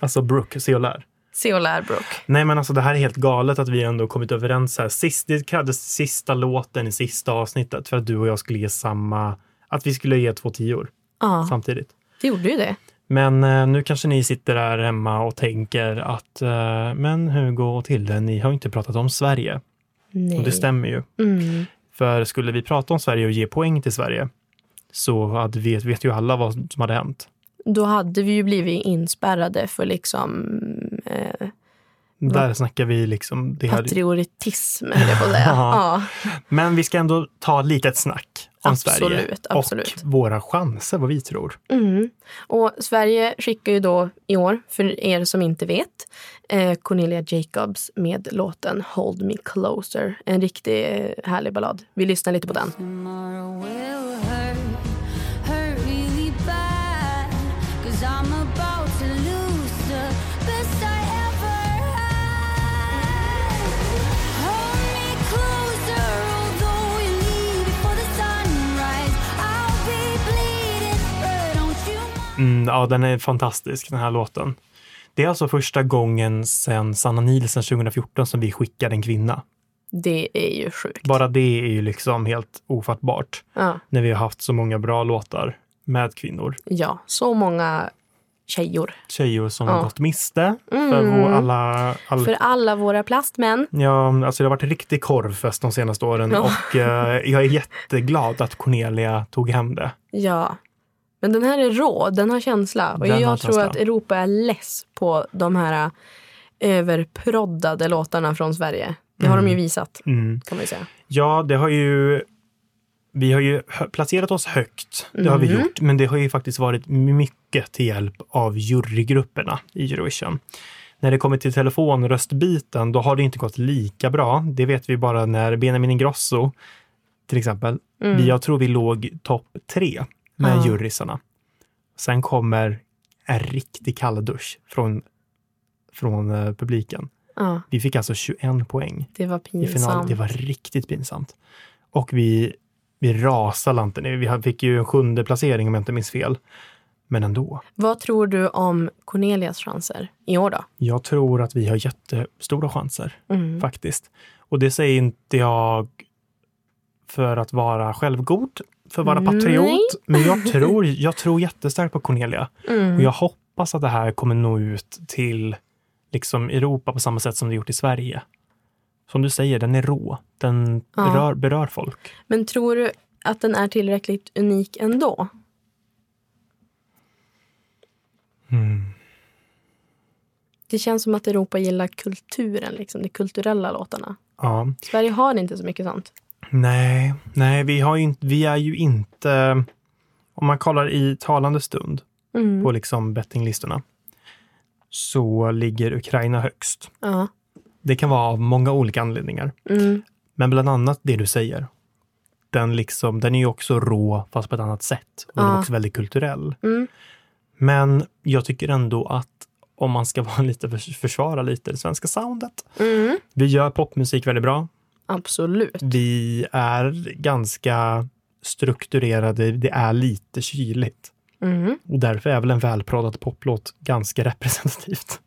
Speaker 1: Alltså Brooke, se och lär.
Speaker 2: se och lär Brooke.
Speaker 1: Nej men alltså det här är helt galet att vi ändå kommit överens här. Sist, det krävdes sista låten i sista avsnittet för att du och jag skulle ge samma, att vi skulle ge två tior
Speaker 2: Ja,
Speaker 1: samtidigt.
Speaker 2: det gjorde ju det.
Speaker 1: Men eh, nu kanske ni sitter där hemma och tänker att eh, men Hugo och Tilde, ni har ju inte pratat om Sverige. Och det
Speaker 2: Nej.
Speaker 1: stämmer ju.
Speaker 2: Mm.
Speaker 1: För skulle vi prata om Sverige och ge poäng till Sverige så hade, vet, vet ju alla vad som hade hänt.
Speaker 2: Då hade vi ju blivit inspärrade för liksom eh,
Speaker 1: Där snackar vi liksom... Det här.
Speaker 2: patriotism, höll jag
Speaker 1: [laughs]
Speaker 2: på att säga. Ja,
Speaker 1: Men vi ska ändå ta lite ett snack om
Speaker 2: Absolut,
Speaker 1: Sverige
Speaker 2: absolut.
Speaker 1: och våra chanser, vad vi tror.
Speaker 2: Mm. Och Sverige skickar ju då i år, för er som inte vet, eh, Cornelia Jacobs med låten Hold Me Closer. En riktigt eh, härlig ballad. Vi lyssnar lite på den.
Speaker 4: Tomorrow will hurt, hurt really bad. Cause I'm about to lose the best I ever had. Hold me closer, although you leave before the sunrise. I'll be bleeding, but don't you mind.
Speaker 1: Mm, ja, den är fantastisk, den här låten. Det är alltså första gången sedan Sanna Nielsen 2014 som vi skickade en kvinna.
Speaker 2: Det är ju sjukt.
Speaker 1: Bara det är ju liksom helt ofattbart
Speaker 2: Ja,
Speaker 1: när vi har haft så många bra låtar med kvinnor.
Speaker 2: ja, så många tjejor.
Speaker 1: Tjejer som
Speaker 2: Ja. Mm.
Speaker 1: har gått miste för vår alla... all-
Speaker 2: För alla våra plastmän.
Speaker 1: Ja, alltså det har varit en riktig korvfest de senaste åren
Speaker 2: Ja.
Speaker 1: och eh, jag är jätteglad att Cornelia tog hem det.
Speaker 2: Ja. Men den här är rå, den har känsla. Och
Speaker 1: Den har
Speaker 2: jag tror
Speaker 1: känsla.
Speaker 2: att Europa är less på de här eh, överproddade låtarna från Sverige. Det har de ju visat,
Speaker 1: Mm.
Speaker 2: kan man ju säga.
Speaker 1: Ja, det har ju... Vi har ju hö- placerat oss högt, det har vi gjort, men det har ju faktiskt varit mycket till hjälp av jurygrupperna i Eurovision. När det kommer till telefonröstbiten, då har det inte gått lika bra. Det vet vi bara när Benjamin Ingrosso, till exempel, vi, jag tror vi låg topp tre med
Speaker 2: Mm. Ja.
Speaker 1: jurysarna. Sen kommer en riktig kalldusch från, från eh, publiken.
Speaker 2: Ja,
Speaker 1: Vi fick alltså 21 poäng
Speaker 2: det var
Speaker 1: i finalen.
Speaker 2: pinsamt.
Speaker 1: Det var riktigt pinsamt. Och vi, vi rasade lanten. Vi fick ju en sjunde placering om jag inte minns fel. men ändå.
Speaker 2: Vad tror du om Cornelias chanser i år då?
Speaker 1: Jag tror att vi har jättestora chanser
Speaker 2: Mm.
Speaker 1: faktiskt. Och det säger inte jag för att vara självgod, för att vara patriot. Men
Speaker 2: [laughs]
Speaker 1: jag tror, jag tror jättestarkt på Cornelia.
Speaker 2: Mm.
Speaker 1: Och jag hoppas att det här kommer nå ut till liksom Europa på samma sätt som det gjort i Sverige. Som du säger, den är rå. Den
Speaker 2: Ja.
Speaker 1: berör, berör folk.
Speaker 2: Men tror du att den är tillräckligt unik ändå? Det känns som att Europa gillar kulturen, liksom, de kulturella låtarna.
Speaker 1: Ja.
Speaker 2: Sverige har inte så mycket sånt.
Speaker 1: Nej, nej vi, har ju inte, vi är ju inte... Om man kollar i talande stund
Speaker 2: Mm.
Speaker 1: på liksom bettinglistorna så ligger Ukraina högst.
Speaker 2: Ja.
Speaker 1: Det kan vara av många olika anledningar,
Speaker 2: Mm.
Speaker 1: men bland annat det du säger. Den, liksom, den är ju också rå, fast på ett annat sätt. Och den är
Speaker 2: Ja.
Speaker 1: också väldigt kulturell.
Speaker 2: Mm.
Speaker 1: Men jag tycker ändå att om man ska [laughs] vara lite förs- försvara lite det svenska soundet.
Speaker 2: Mm.
Speaker 1: Vi gör popmusik väldigt bra.
Speaker 2: Absolut.
Speaker 1: Vi är ganska strukturerade. Det är lite kyligt.
Speaker 2: Mm.
Speaker 1: Och därför är väl en välpratad poplåt ganska representativt.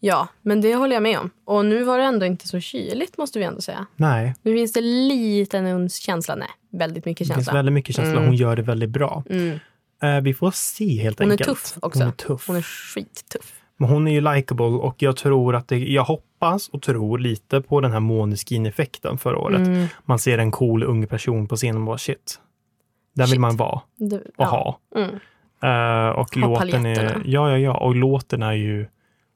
Speaker 2: Ja, men det håller jag med om. Och nu var det ändå inte så kyligt måste vi ändå säga.
Speaker 1: Nej,
Speaker 2: Nu finns det lite en uns känsla. Nej, väldigt mycket
Speaker 1: det finns
Speaker 2: känsla.
Speaker 1: väldigt mycket känsla. Hon gör det väldigt bra.
Speaker 2: Mm.
Speaker 1: Eh, vi får se helt
Speaker 2: Hon är
Speaker 1: enkelt.
Speaker 2: tuff också.
Speaker 1: Hon är tuff.
Speaker 2: Hon är skittuff.
Speaker 1: Men hon är ju likable och jag tror att det, jag hoppas och tror lite på den här Måneskin-effekten förra året.
Speaker 2: Mm.
Speaker 1: Man ser en cool ung person på scenen och bara shit. Där vill
Speaker 2: Shit.
Speaker 1: man vara
Speaker 2: Du,
Speaker 1: och
Speaker 2: ja.
Speaker 1: ha.
Speaker 2: Mm.
Speaker 1: Eh, och
Speaker 2: Ha
Speaker 1: låten är,
Speaker 2: paletterna.
Speaker 1: ja, ja, ja, och låten är ju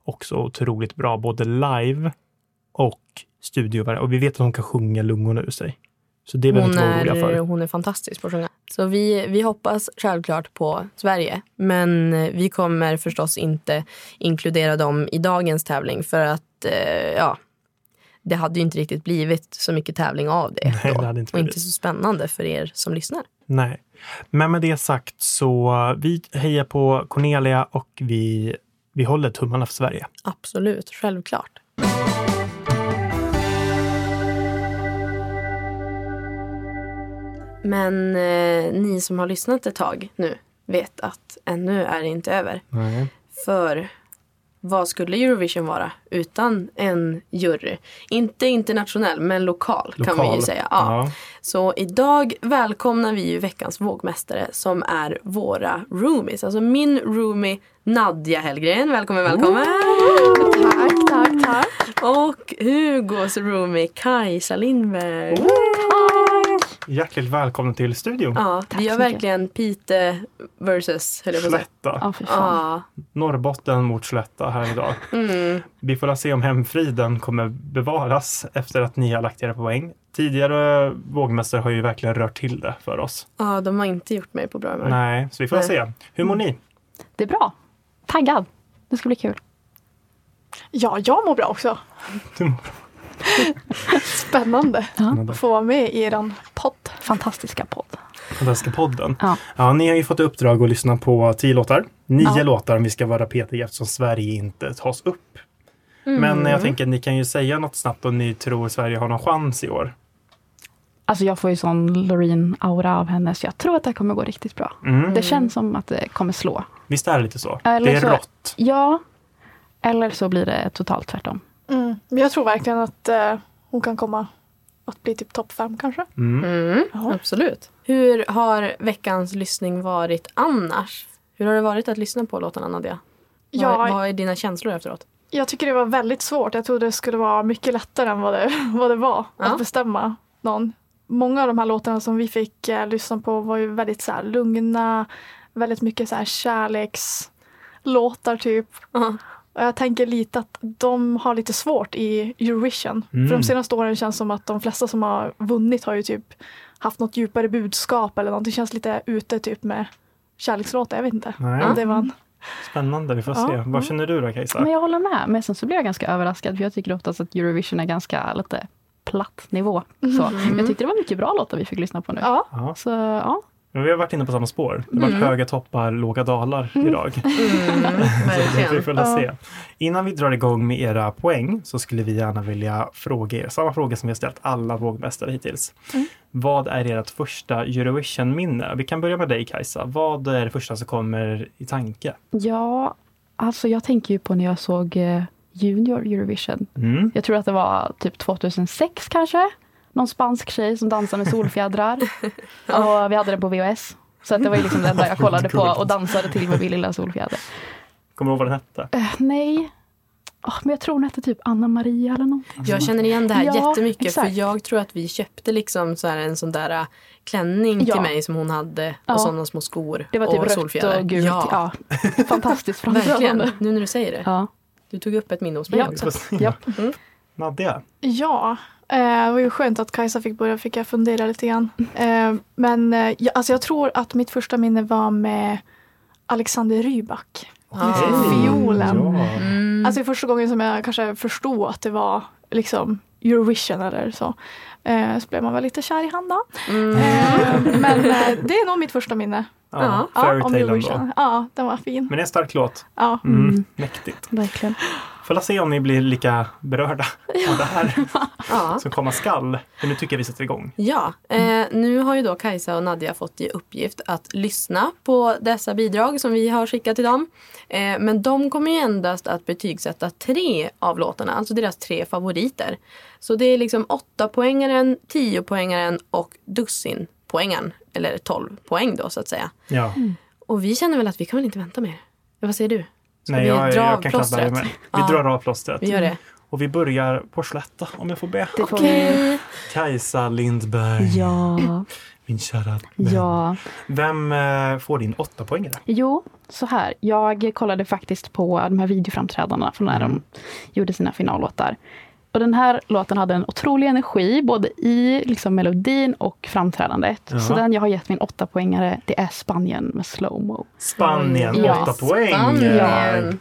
Speaker 1: också otroligt bra, både live och studio. Och vi vet att hon kan sjunga lungorna ur sig. Så det behöver vi
Speaker 2: Hon,
Speaker 1: inte vara oroliga
Speaker 2: är,
Speaker 1: för.
Speaker 2: hon är fantastisk på att sjunga. Så vi, vi hoppas självklart på Sverige. Men eh, vi kommer förstås inte inkludera dem i dagens tävling. För att eh, ja, det hade ju inte riktigt blivit så mycket tävling av det.
Speaker 1: [laughs] Nej,
Speaker 2: då.
Speaker 1: det hade inte
Speaker 2: och
Speaker 1: blivit.
Speaker 2: inte så spännande för er som lyssnar.
Speaker 1: Nej. Men med det sagt så vi hejar på Cornelia och vi, vi håller tummarna för Sverige.
Speaker 2: Absolut, självklart. Men eh, ni som har lyssnat ett tag nu vet att ännu är det inte över. För vad skulle Eurovision vara utan en jury? Inte internationell, men lokal, kan vi
Speaker 1: Lokal.
Speaker 2: ju säga.
Speaker 1: Ja.
Speaker 2: Så idag välkomnar vi ju veckans vågmästare som är våra roomies. Alltså min roomie Nadja Hellgren. Välkommen, välkommen!
Speaker 7: Tack, tack, tack.
Speaker 2: Och Hugos roomie Kajsa Lindberg.
Speaker 7: Oh,
Speaker 1: Hjärtligt välkomna till studion.
Speaker 2: Ja,
Speaker 7: Tack
Speaker 2: vi har
Speaker 7: så mycket.
Speaker 2: verkligen Pite versus, höll jag på att säga.
Speaker 1: Slätta.
Speaker 7: Ja, fy
Speaker 8: Ah.
Speaker 7: fan.
Speaker 2: Ja,
Speaker 1: Norrbotten mot Slätta här idag.
Speaker 9: Mm.
Speaker 1: Vi får se om hemfriden kommer bevaras efter att ni har lagt era poäng. Tidigare vågmästare har ju verkligen rört till det för oss.
Speaker 2: ja, de har inte gjort mig på bra humör.
Speaker 1: Nej, så vi får
Speaker 2: Nej.
Speaker 1: se. Hur mår ni?
Speaker 7: Det är bra. Taggad. Det ska bli kul. Ja, jag mår bra också.
Speaker 1: Du mår
Speaker 7: [laughs] Spännande att få vara med i eran podd.
Speaker 9: fantastiska podd.
Speaker 1: Fantastiska podden.
Speaker 9: Ja.
Speaker 1: ni har ju fått i uppdrag att lyssna på tio låtar. Nio
Speaker 9: Ja.
Speaker 1: låtar om vi ska vara petiga eftersom Sverige inte tas upp.
Speaker 9: Mm.
Speaker 1: Men jag tänker att ni kan ju säga något snabbt om ni tror Sverige har någon chans i år.
Speaker 9: Alltså jag får ju sån Loreen-aura av henne, så jag tror att det här kommer gå riktigt bra.
Speaker 1: Mm.
Speaker 9: Det känns som att det kommer slå.
Speaker 1: Visst är det lite så?
Speaker 9: Eller
Speaker 1: det är
Speaker 9: så-
Speaker 1: rått.
Speaker 9: Ja, eller så blir det totalt tvärtom.
Speaker 7: Mm. Men jag tror verkligen att eh, hon kan komma att bli typ topp fem kanske.
Speaker 2: Mm,
Speaker 7: Ja.
Speaker 2: Absolut. Hur har veckans lyssning varit annars? Hur har det varit att lyssna på låtarna, Nadia?
Speaker 7: Ja,
Speaker 2: Vad, vad är dina känslor efteråt?
Speaker 7: Jag tycker det var väldigt svårt. Jag trodde det skulle vara mycket lättare än vad det, [laughs] vad det var
Speaker 2: Ja.
Speaker 7: att bestämma någon. Många av de här låtarna som vi fick eh, lyssna på var ju väldigt så här, lugna, väldigt mycket så här, kärlekslåtar typ.
Speaker 2: Ja.
Speaker 7: Och jag tänker lite att de har lite svårt i Eurovision.
Speaker 1: Mm.
Speaker 7: För de senaste åren känns som att de flesta som har vunnit har ju typ haft något djupare budskap eller något. Det känns lite ute typ med kärlekslåtar, jag vet inte.
Speaker 1: Nej.
Speaker 7: Om det var en
Speaker 1: Spännande, vi får
Speaker 7: Ja.
Speaker 1: se. Vad känner du då Kajsa?
Speaker 9: Men jag håller med. Men sen så blir jag ganska överraskad, för jag tycker oftast att Eurovision är ganska lite platt nivå. Så jag tyckte det var mycket bra låtar vi fick lyssna på nu.
Speaker 7: Ja.
Speaker 1: Ja.
Speaker 9: Så ja,
Speaker 1: Men vi har varit inne på samma spår. Det har varit höga toppar, låga dalar idag.
Speaker 2: Mm,
Speaker 1: Vi
Speaker 2: verkligen.
Speaker 1: får väl se. Innan vi drar igång med era poäng så skulle vi gärna vilja fråga er samma fråga som vi har ställt alla vågmästare hittills. Vad är ert första Eurovision-minne? Vi kan börja med dig Kajsa. Vad är det första som kommer i tanke?
Speaker 9: Ja, alltså jag tänker ju på när jag såg eh, Junior Eurovision.
Speaker 1: Mm.
Speaker 9: Jag tror att det var typ 2006 kanske. Någon spansk tjej som dansade med solfjädrar. Och vi hade den på VHS. Så att det var ju liksom det enda jag kollade på och dansade till med min lilla solfjäder.
Speaker 1: Kommer du ihåg vad den hette?
Speaker 9: Eh, nej, Åh, men jag tror hon hette typ Anna Maria eller något.
Speaker 2: Jag känner igen det här
Speaker 9: Ja,
Speaker 2: jättemycket
Speaker 9: exakt.
Speaker 2: för jag tror att vi köpte liksom så här en sån där äh, klänning till
Speaker 9: Ja.
Speaker 2: mig som hon hade och
Speaker 9: Ja.
Speaker 2: sådana små skor
Speaker 9: Det var typ
Speaker 2: och
Speaker 9: rött och gult.
Speaker 2: Ja,
Speaker 9: Ja. Fantastiskt
Speaker 2: verkligen.
Speaker 9: framträdande.
Speaker 2: Nu när du säger det.
Speaker 9: Ja.
Speaker 2: Du tog upp ett minne hos mig
Speaker 9: Ja.
Speaker 2: också.
Speaker 1: Ska se.
Speaker 9: Japp.
Speaker 1: Nadja,
Speaker 7: Ja, eh, det var ju skönt att Kajsa fick börja, fick jag fundera lite grann. Eh, men eh, jag, alltså jag tror att mitt första minne var med Alexander Rybak.
Speaker 2: Ja.
Speaker 7: Fiolen.
Speaker 1: Ja.
Speaker 7: Alltså det är första gången som jag kanske förstod att det var liksom Eurovision eller så. Eh, så blev man väl lite kär i han då. Eh, men eh, det är nog mirit första minne.
Speaker 1: Ja,
Speaker 7: ja, om
Speaker 1: Fairytale ändå.
Speaker 7: Eurovision. Ja, den var fin.
Speaker 1: Men det är en stark låt.
Speaker 7: Ja.
Speaker 1: Mm. Mäktigt.
Speaker 9: Verkligen.
Speaker 1: Får la se om ni blir lika berörda av det här
Speaker 2: Ja.
Speaker 1: som komma skall. För nu tycker jag vi sätter igång.
Speaker 2: Ja, eh, nu har ju då Kajsa och Nadja fått i uppgift att lyssna på dessa bidrag som vi har skickat till dem. Eh, men de kommer ju endast att betygsätta tre av låtarna, alltså deras tre favoriter. Så det är liksom åtta poängaren, tio poängaren och dussin poängaren, eller 12 poäng då så att säga.
Speaker 1: Ja.
Speaker 2: Och vi känner väl att vi kan väl inte vänta mer? Eh, Vad säger du? Ska
Speaker 1: Nej,
Speaker 2: vi
Speaker 1: jag,
Speaker 2: dra
Speaker 1: jag
Speaker 2: av
Speaker 1: kan klabba
Speaker 2: plåstret?
Speaker 1: det med. Vi
Speaker 2: Ja.
Speaker 1: drar av plåstret. Mm.
Speaker 2: Vi gör det.
Speaker 1: Och vi börjar på Slätta, om jag får be.
Speaker 9: Det får vi.
Speaker 1: Kajsa Lindberg,
Speaker 9: Ja,
Speaker 1: min kära vän.
Speaker 9: ja.
Speaker 1: Vem eh, får din åtta poängare?
Speaker 9: Jo, så här. Jag kollade faktiskt på de här videoframträdandena från när
Speaker 1: Mm.
Speaker 9: de gjorde sina finallåtar. Och den här låten hade en otrolig energi, både i liksom melodin och framträdandet. Så
Speaker 1: Ja.
Speaker 9: den jag har gett min åtta poängare, det är Spanien med slowmo.
Speaker 1: Spanien,
Speaker 9: Ja.
Speaker 1: åtta poäng.
Speaker 2: Spanien!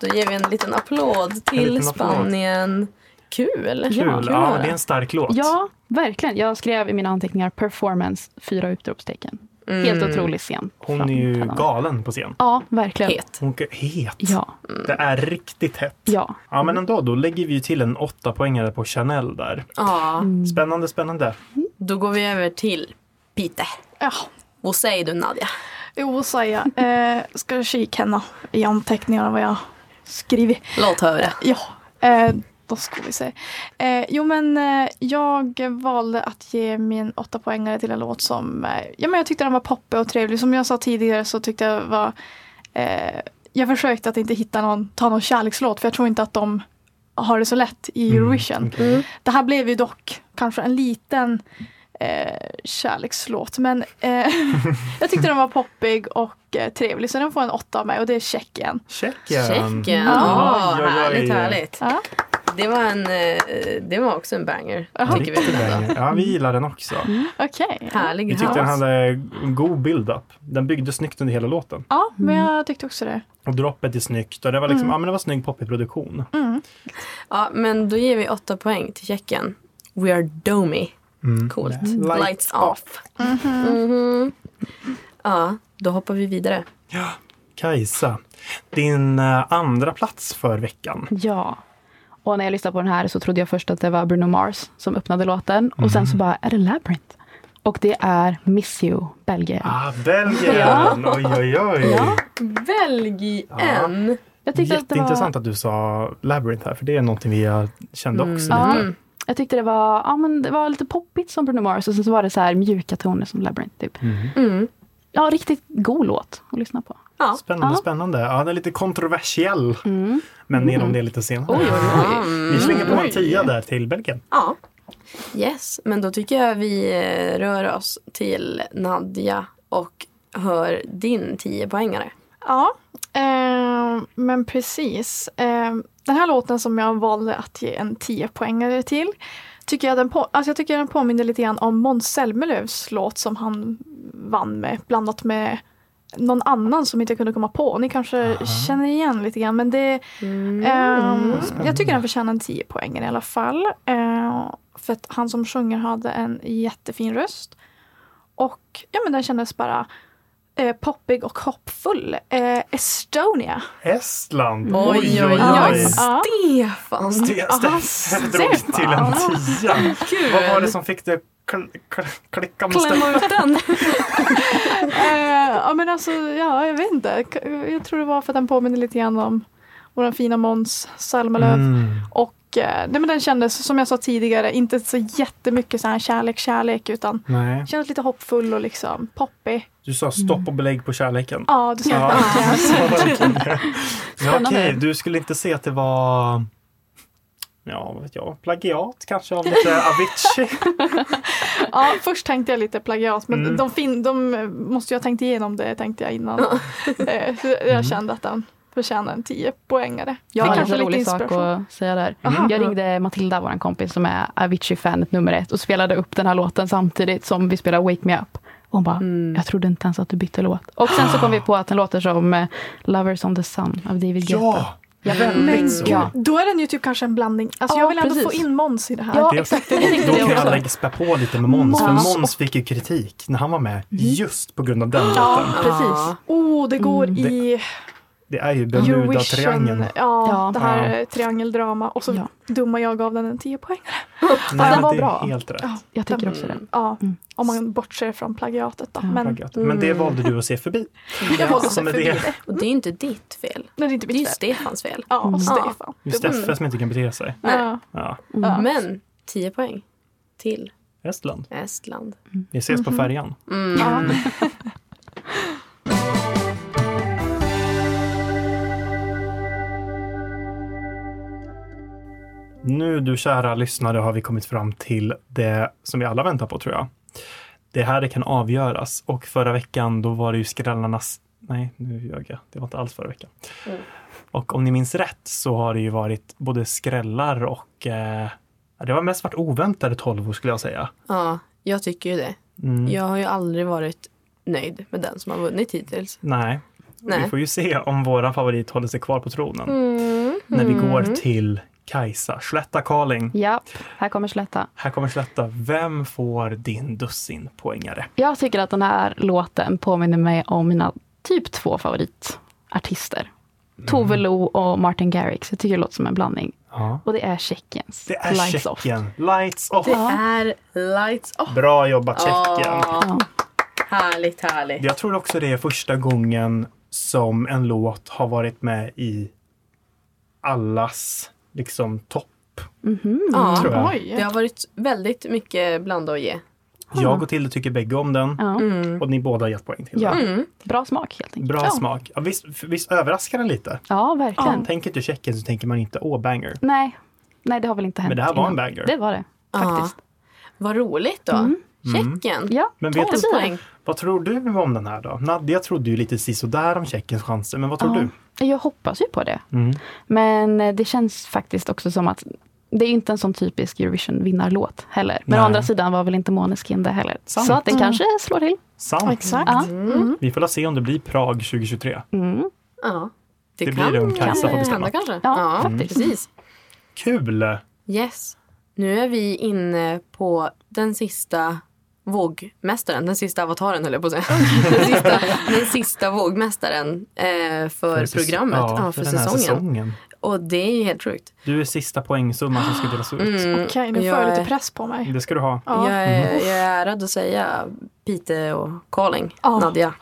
Speaker 2: Då ger vi en liten applåd till
Speaker 1: liten applåd.
Speaker 2: Spanien. Kul!
Speaker 1: Kul, ja,
Speaker 9: kul
Speaker 1: det är en stark låt.
Speaker 9: Ja, verkligen. Jag skrev i mina anteckningar performance, fyra utropstecken. Helt otrolig scen.
Speaker 1: Hon är ju
Speaker 9: framträdande.
Speaker 1: galen på scen.
Speaker 9: Ja, verkligen.
Speaker 2: Het.
Speaker 1: Hon är het.
Speaker 9: Ja,
Speaker 1: Det är riktigt hett.
Speaker 9: ja.
Speaker 1: Ja, men ändå, då lägger vi ju till en åtta poängare på Chanel där.
Speaker 2: Ja,
Speaker 1: Spännande, spännande.
Speaker 2: då går vi över till Pite.
Speaker 7: Ja.
Speaker 2: Vad säger du Nadja?
Speaker 7: Jo, säger jag. Eh, ska kika henne i anteckningarna vad jag skrivit.
Speaker 2: Låt höra.
Speaker 7: Ja, eh, då ska vi se. Eh, jo men eh, jag valde att ge min åtta poängare till en låt som eh, ja, men jag tyckte den var poppig och trevlig. Som jag sa tidigare så tyckte jag var eh, Jag försökte att inte hitta någon, ta någon kärlekslåt för jag tror inte att de har det så lätt i
Speaker 1: Mm,
Speaker 7: Eurovision. Det här blev ju dock kanske en liten eh, kärlekslåt men eh, [laughs] jag tyckte den var poppig och eh, trevlig så den får en åtta av mig och det är Tjeckien.
Speaker 1: Tjeckien.
Speaker 2: Checken.
Speaker 1: Ja,
Speaker 2: Ja,
Speaker 1: ja, ja,
Speaker 2: härligt,
Speaker 1: ja.
Speaker 2: härligt.
Speaker 7: Ja.
Speaker 2: Det var, en, eh, det var också en banger. Tycker vi
Speaker 1: Riktigt
Speaker 2: den då.
Speaker 1: banger. Ja,
Speaker 9: Mm.
Speaker 1: vi gillar den också.
Speaker 7: Okej.
Speaker 2: Härlig
Speaker 1: Vi tyckte den
Speaker 2: house.
Speaker 1: hade en god build-up. Den byggde snyggt under hela låten.
Speaker 7: Ja, men jag tyckte också det.
Speaker 1: Och droppet är snyggt och det var
Speaker 9: Mm.
Speaker 1: liksom, ja men det var snygg poppig produktion.
Speaker 2: Ja, men då ger vi åtta poäng till Tjeckien. We are domy.
Speaker 1: Mm.
Speaker 2: Coolt. Lights, off. Mhm. Ja, då hoppar vi vidare.
Speaker 1: Kajsa, din eh, andra plats för veckan.
Speaker 9: Ja. Och när jag lyssnade på den här så trodde jag först att det var Bruno Mars som öppnade låten. Och sen
Speaker 1: Mhm.
Speaker 9: så bara, är det Labyrinth? Och det är Miss You, Belgien.
Speaker 1: Ah, Belgien! Oj, oj, oj.
Speaker 2: Belgien.
Speaker 9: Jag tyckte, att det var,
Speaker 1: Jätteintressant att du sa Labyrinth här, för det är någonting vi eh, kände också
Speaker 9: Mm. Ja.
Speaker 1: lite.
Speaker 9: jag tyckte det var, ja, men det var lite poppigt som Bruno Mars och sen så var det så här mjuka toner som Labyrinth. Typ.
Speaker 1: Mhm.
Speaker 2: Mm.
Speaker 9: Ja, riktigt god låt att lyssna på.
Speaker 2: Ja.
Speaker 1: Spännande,
Speaker 9: Ja. Mm.
Speaker 1: spännande. Ja, den är lite kontroversiell. Men mer om det lite senare.
Speaker 2: Mm.
Speaker 1: Vi slänger på en tia där till Belgien.
Speaker 2: Ja. Yes, men då tycker jag vi eh, rör oss till Nadja och hör din 10-poängare.
Speaker 7: Ja, eh, men precis. Eh, den här låten som jag valde att ge en 10-poängare till tycker jag, den på, alltså jag tycker den påminner lite grann om Måns Zelmerlöws låt som han vann med, blandat med någon annan som inte jag kunde komma på. Ni kanske känner igen lite grann men det ehm, Jag tycker den förtjänar en 10 poäng i alla fall. Eh, för att han som sjunger hade en jättefin röst. Och ja, men den kändes bara eh, poppig och hoppfull. Eh, Estonia.
Speaker 1: Estland.
Speaker 2: Oj, oj, oj.
Speaker 7: Ja.
Speaker 2: Stefan!
Speaker 1: Ste- Ste-
Speaker 7: Stefan.
Speaker 1: drog till en tia. Vad var det som fick dig kl- kl- klicka med stämman?
Speaker 2: ut den.
Speaker 7: Eh, ja men alltså, ja jag vet inte. K- Jag tror det var för att den påminner lite grann om vår fina Måns Salmalöv.
Speaker 1: Mm.
Speaker 7: Och eh, nej, men den kändes, som jag sa tidigare, inte så jättemycket så här kärlek, kärlek utan
Speaker 1: Nej.
Speaker 7: kändes lite hoppfull och liksom poppig.
Speaker 1: Du sa stopp och belägg på kärleken.
Speaker 7: Ja, du sa
Speaker 1: Ja, [laughs]
Speaker 7: det.
Speaker 1: så verkligen. ja,
Speaker 9: Spännande.
Speaker 1: okej, du skulle inte se att det var Ja, vad vet jag. Plagiat kanske av
Speaker 9: [laughs]
Speaker 1: lite Avicii.
Speaker 7: Ja, först tänkte jag lite plagiat men
Speaker 1: Mm.
Speaker 7: de, fin- de eh, måste ju ha tänkt igenom det tänkte jag innan. Eh, så
Speaker 1: Mm.
Speaker 7: jag kände att den förtjänar en 10 poängare.
Speaker 9: Jag
Speaker 7: Det
Speaker 9: har en
Speaker 7: kanske
Speaker 9: lite
Speaker 7: är lite
Speaker 9: rolig sak
Speaker 7: inspiration.
Speaker 9: att säga där.
Speaker 7: Aha.
Speaker 9: Jag ringde Matilda, vår kompis, som är Avicii-fanet nummer ett och spelade upp den här låten samtidigt som vi spelade Wake Me Up. Och hon bara,
Speaker 7: Mm.
Speaker 9: jag trodde inte ens att du bytte låt. Och sen så kom vi på att den låter som eh, Lovers on the Sun av David Guetta.
Speaker 1: Ja, väldigt så.
Speaker 9: Ja,
Speaker 7: Då är den ju typ kanske en blandning. Alltså
Speaker 9: Ja,
Speaker 7: jag vill ändå
Speaker 9: precis.
Speaker 7: få in Måns i det här.
Speaker 9: ja
Speaker 1: Det-
Speaker 9: exakt. Det tänkte
Speaker 1: Då kan
Speaker 9: jag
Speaker 1: jag
Speaker 9: också.
Speaker 1: lägga spä på lite med Måns, för
Speaker 7: Måns
Speaker 1: Måns fick ju kritik när han var med
Speaker 9: Mm.
Speaker 1: just på grund av den
Speaker 7: Ja,
Speaker 1: låten.
Speaker 7: precis. Oh, det går
Speaker 9: Mm.
Speaker 7: i
Speaker 1: Det är ju
Speaker 7: Eurovision.
Speaker 1: Bermuda-triangeln.
Speaker 7: Ja,
Speaker 9: Ja.
Speaker 7: det här
Speaker 1: Ja.
Speaker 7: eh, triangeldrama. Och så
Speaker 9: Ja.
Speaker 7: dumma jag gav den en 10 poäng.
Speaker 1: Nej,
Speaker 9: den
Speaker 1: men
Speaker 9: var
Speaker 1: det är
Speaker 9: bra.
Speaker 1: Helt rätt.
Speaker 9: Jag tycker också
Speaker 2: Mm.
Speaker 9: det.
Speaker 7: Ja, om man bortser från plagiatet då. Men
Speaker 1: Plagiat. Men det valde du att se förbi.
Speaker 7: [laughs] jag valde
Speaker 1: Som
Speaker 7: sig
Speaker 1: är
Speaker 7: förbi
Speaker 1: det.
Speaker 7: det.
Speaker 2: Och det är ju inte ditt fel.
Speaker 7: Det är inte
Speaker 2: Det är ju
Speaker 7: mitt fel.
Speaker 2: Stefans fel. Mm.
Speaker 7: Ja,
Speaker 9: Mm.
Speaker 7: och Stefan.
Speaker 1: Det är
Speaker 7: Mm.
Speaker 1: Steffe som inte kan bete sig.
Speaker 7: Ja.
Speaker 1: Ja.
Speaker 2: Men 10 poäng till
Speaker 1: Estland.
Speaker 2: Estland. Mm.
Speaker 1: Vi ses
Speaker 7: Mhm.
Speaker 1: på färjan. Mm, Nu du kära lyssnare har vi kommit fram till det som vi alla väntar på tror jag. Det här det kan avgöras och förra veckan då var det ju skrällarnas Nej, nu ljög jag. Det var inte alls förra veckan.
Speaker 7: Mm.
Speaker 1: Och om ni minns rätt så har det ju varit både skrällar och eh, det har mest varit oväntade tolvor skulle jag säga.
Speaker 2: Ja, jag tycker ju det.
Speaker 1: Mm.
Speaker 2: Jag har ju aldrig varit nöjd med den som har vunnit hittills.
Speaker 1: Nej.
Speaker 2: Nej.
Speaker 1: Vi får ju se om våran favorit håller sig kvar på tronen.
Speaker 9: Mm.
Speaker 1: När vi går till Kajsa. Slätta Karling.
Speaker 9: Ja, här kommer Slätta.
Speaker 1: Här kommer Slätta. Vem får din dussin poängare?
Speaker 9: Jag tycker att den här låten påminner mig om mina typ två favoritartister.
Speaker 1: Mm.
Speaker 9: Tove Lo och Martin Garrix. Jag tycker det låter som en blandning.
Speaker 1: Ja.
Speaker 9: Och det är Tjeckiens
Speaker 1: Det är
Speaker 9: Lights Off.
Speaker 1: Tjeckien. Lights off.
Speaker 2: Det är lights off.
Speaker 1: Bra jobbat Tjeckien.
Speaker 2: Ja. Härligt, härligt.
Speaker 1: Jag tror också det är första gången som en låt har varit med i allas liksom topp.
Speaker 2: Ja.
Speaker 1: Tror jag.
Speaker 7: Oj.
Speaker 2: Det har varit väldigt mycket blanda och ge.
Speaker 1: jag och Tilde tycker bägge om den
Speaker 9: Ja.
Speaker 1: och ni båda har gett poäng till
Speaker 9: Mm. Ja.
Speaker 1: den.
Speaker 9: Bra smak helt enkelt.
Speaker 1: Mm. Bra smak. Ja, visst, visst överraskar den lite?
Speaker 9: Ja, verkligen.
Speaker 1: Tänker inte Tjeckien så tänker man inte åh banger.
Speaker 9: Nej. Nej, det har väl inte hänt.
Speaker 1: Men det här var en
Speaker 9: innan.
Speaker 1: banger.
Speaker 9: Det var det. Faktiskt.
Speaker 2: Vad roligt då. Tjeckien.
Speaker 9: Mm. Ja.
Speaker 1: Men vet
Speaker 2: 12
Speaker 1: du,
Speaker 2: poäng.
Speaker 1: vad tror du om den här då? Nadja trodde ju lite sisådär om Tjeckiens chanser, men vad tror du?
Speaker 9: Ja. Jag hoppas ju på det.
Speaker 1: Mm.
Speaker 9: Men eh, det känns faktiskt också som att det är ju inte en sån typisk Eurovision-vinnarlåt heller. Men
Speaker 1: Nej.
Speaker 9: å andra sidan var väl inte Måneskin det heller.
Speaker 1: Sant.
Speaker 9: Så att den kanske slår till.
Speaker 1: Sant.
Speaker 7: Exakt.
Speaker 9: Ja.
Speaker 1: Vi får väl se om det blir Prag 2023.
Speaker 9: Mm.
Speaker 2: Ja. Det,
Speaker 1: Det blir
Speaker 2: kan
Speaker 1: det om Kajsa får
Speaker 2: eh,
Speaker 1: bestämma.
Speaker 2: hända kanske. mm.
Speaker 9: Ja, faktiskt.
Speaker 2: precis.
Speaker 1: Kul!
Speaker 2: Yes. Nu är vi inne på den sista vågmästaren, den sista avataren höll jag på att säga.
Speaker 1: [laughs]
Speaker 2: Den sista, den sista vågmästaren eh, för,
Speaker 1: säs-
Speaker 2: programmet, ja, för,
Speaker 1: den här
Speaker 2: säsongen.
Speaker 1: säsongen.
Speaker 2: Och det är ju helt sjukt.
Speaker 1: Du är sista poängsumman som ska delas ut.
Speaker 7: Okej, nu får
Speaker 2: Jag
Speaker 7: jag lite
Speaker 2: är-
Speaker 7: press på mig.
Speaker 1: Det ska du ha.
Speaker 7: Mm. Ja. Mm.
Speaker 2: Jag, är, jag är ärad att säga Pite och Karling,
Speaker 7: Ja. [gasps]
Speaker 2: Nadja.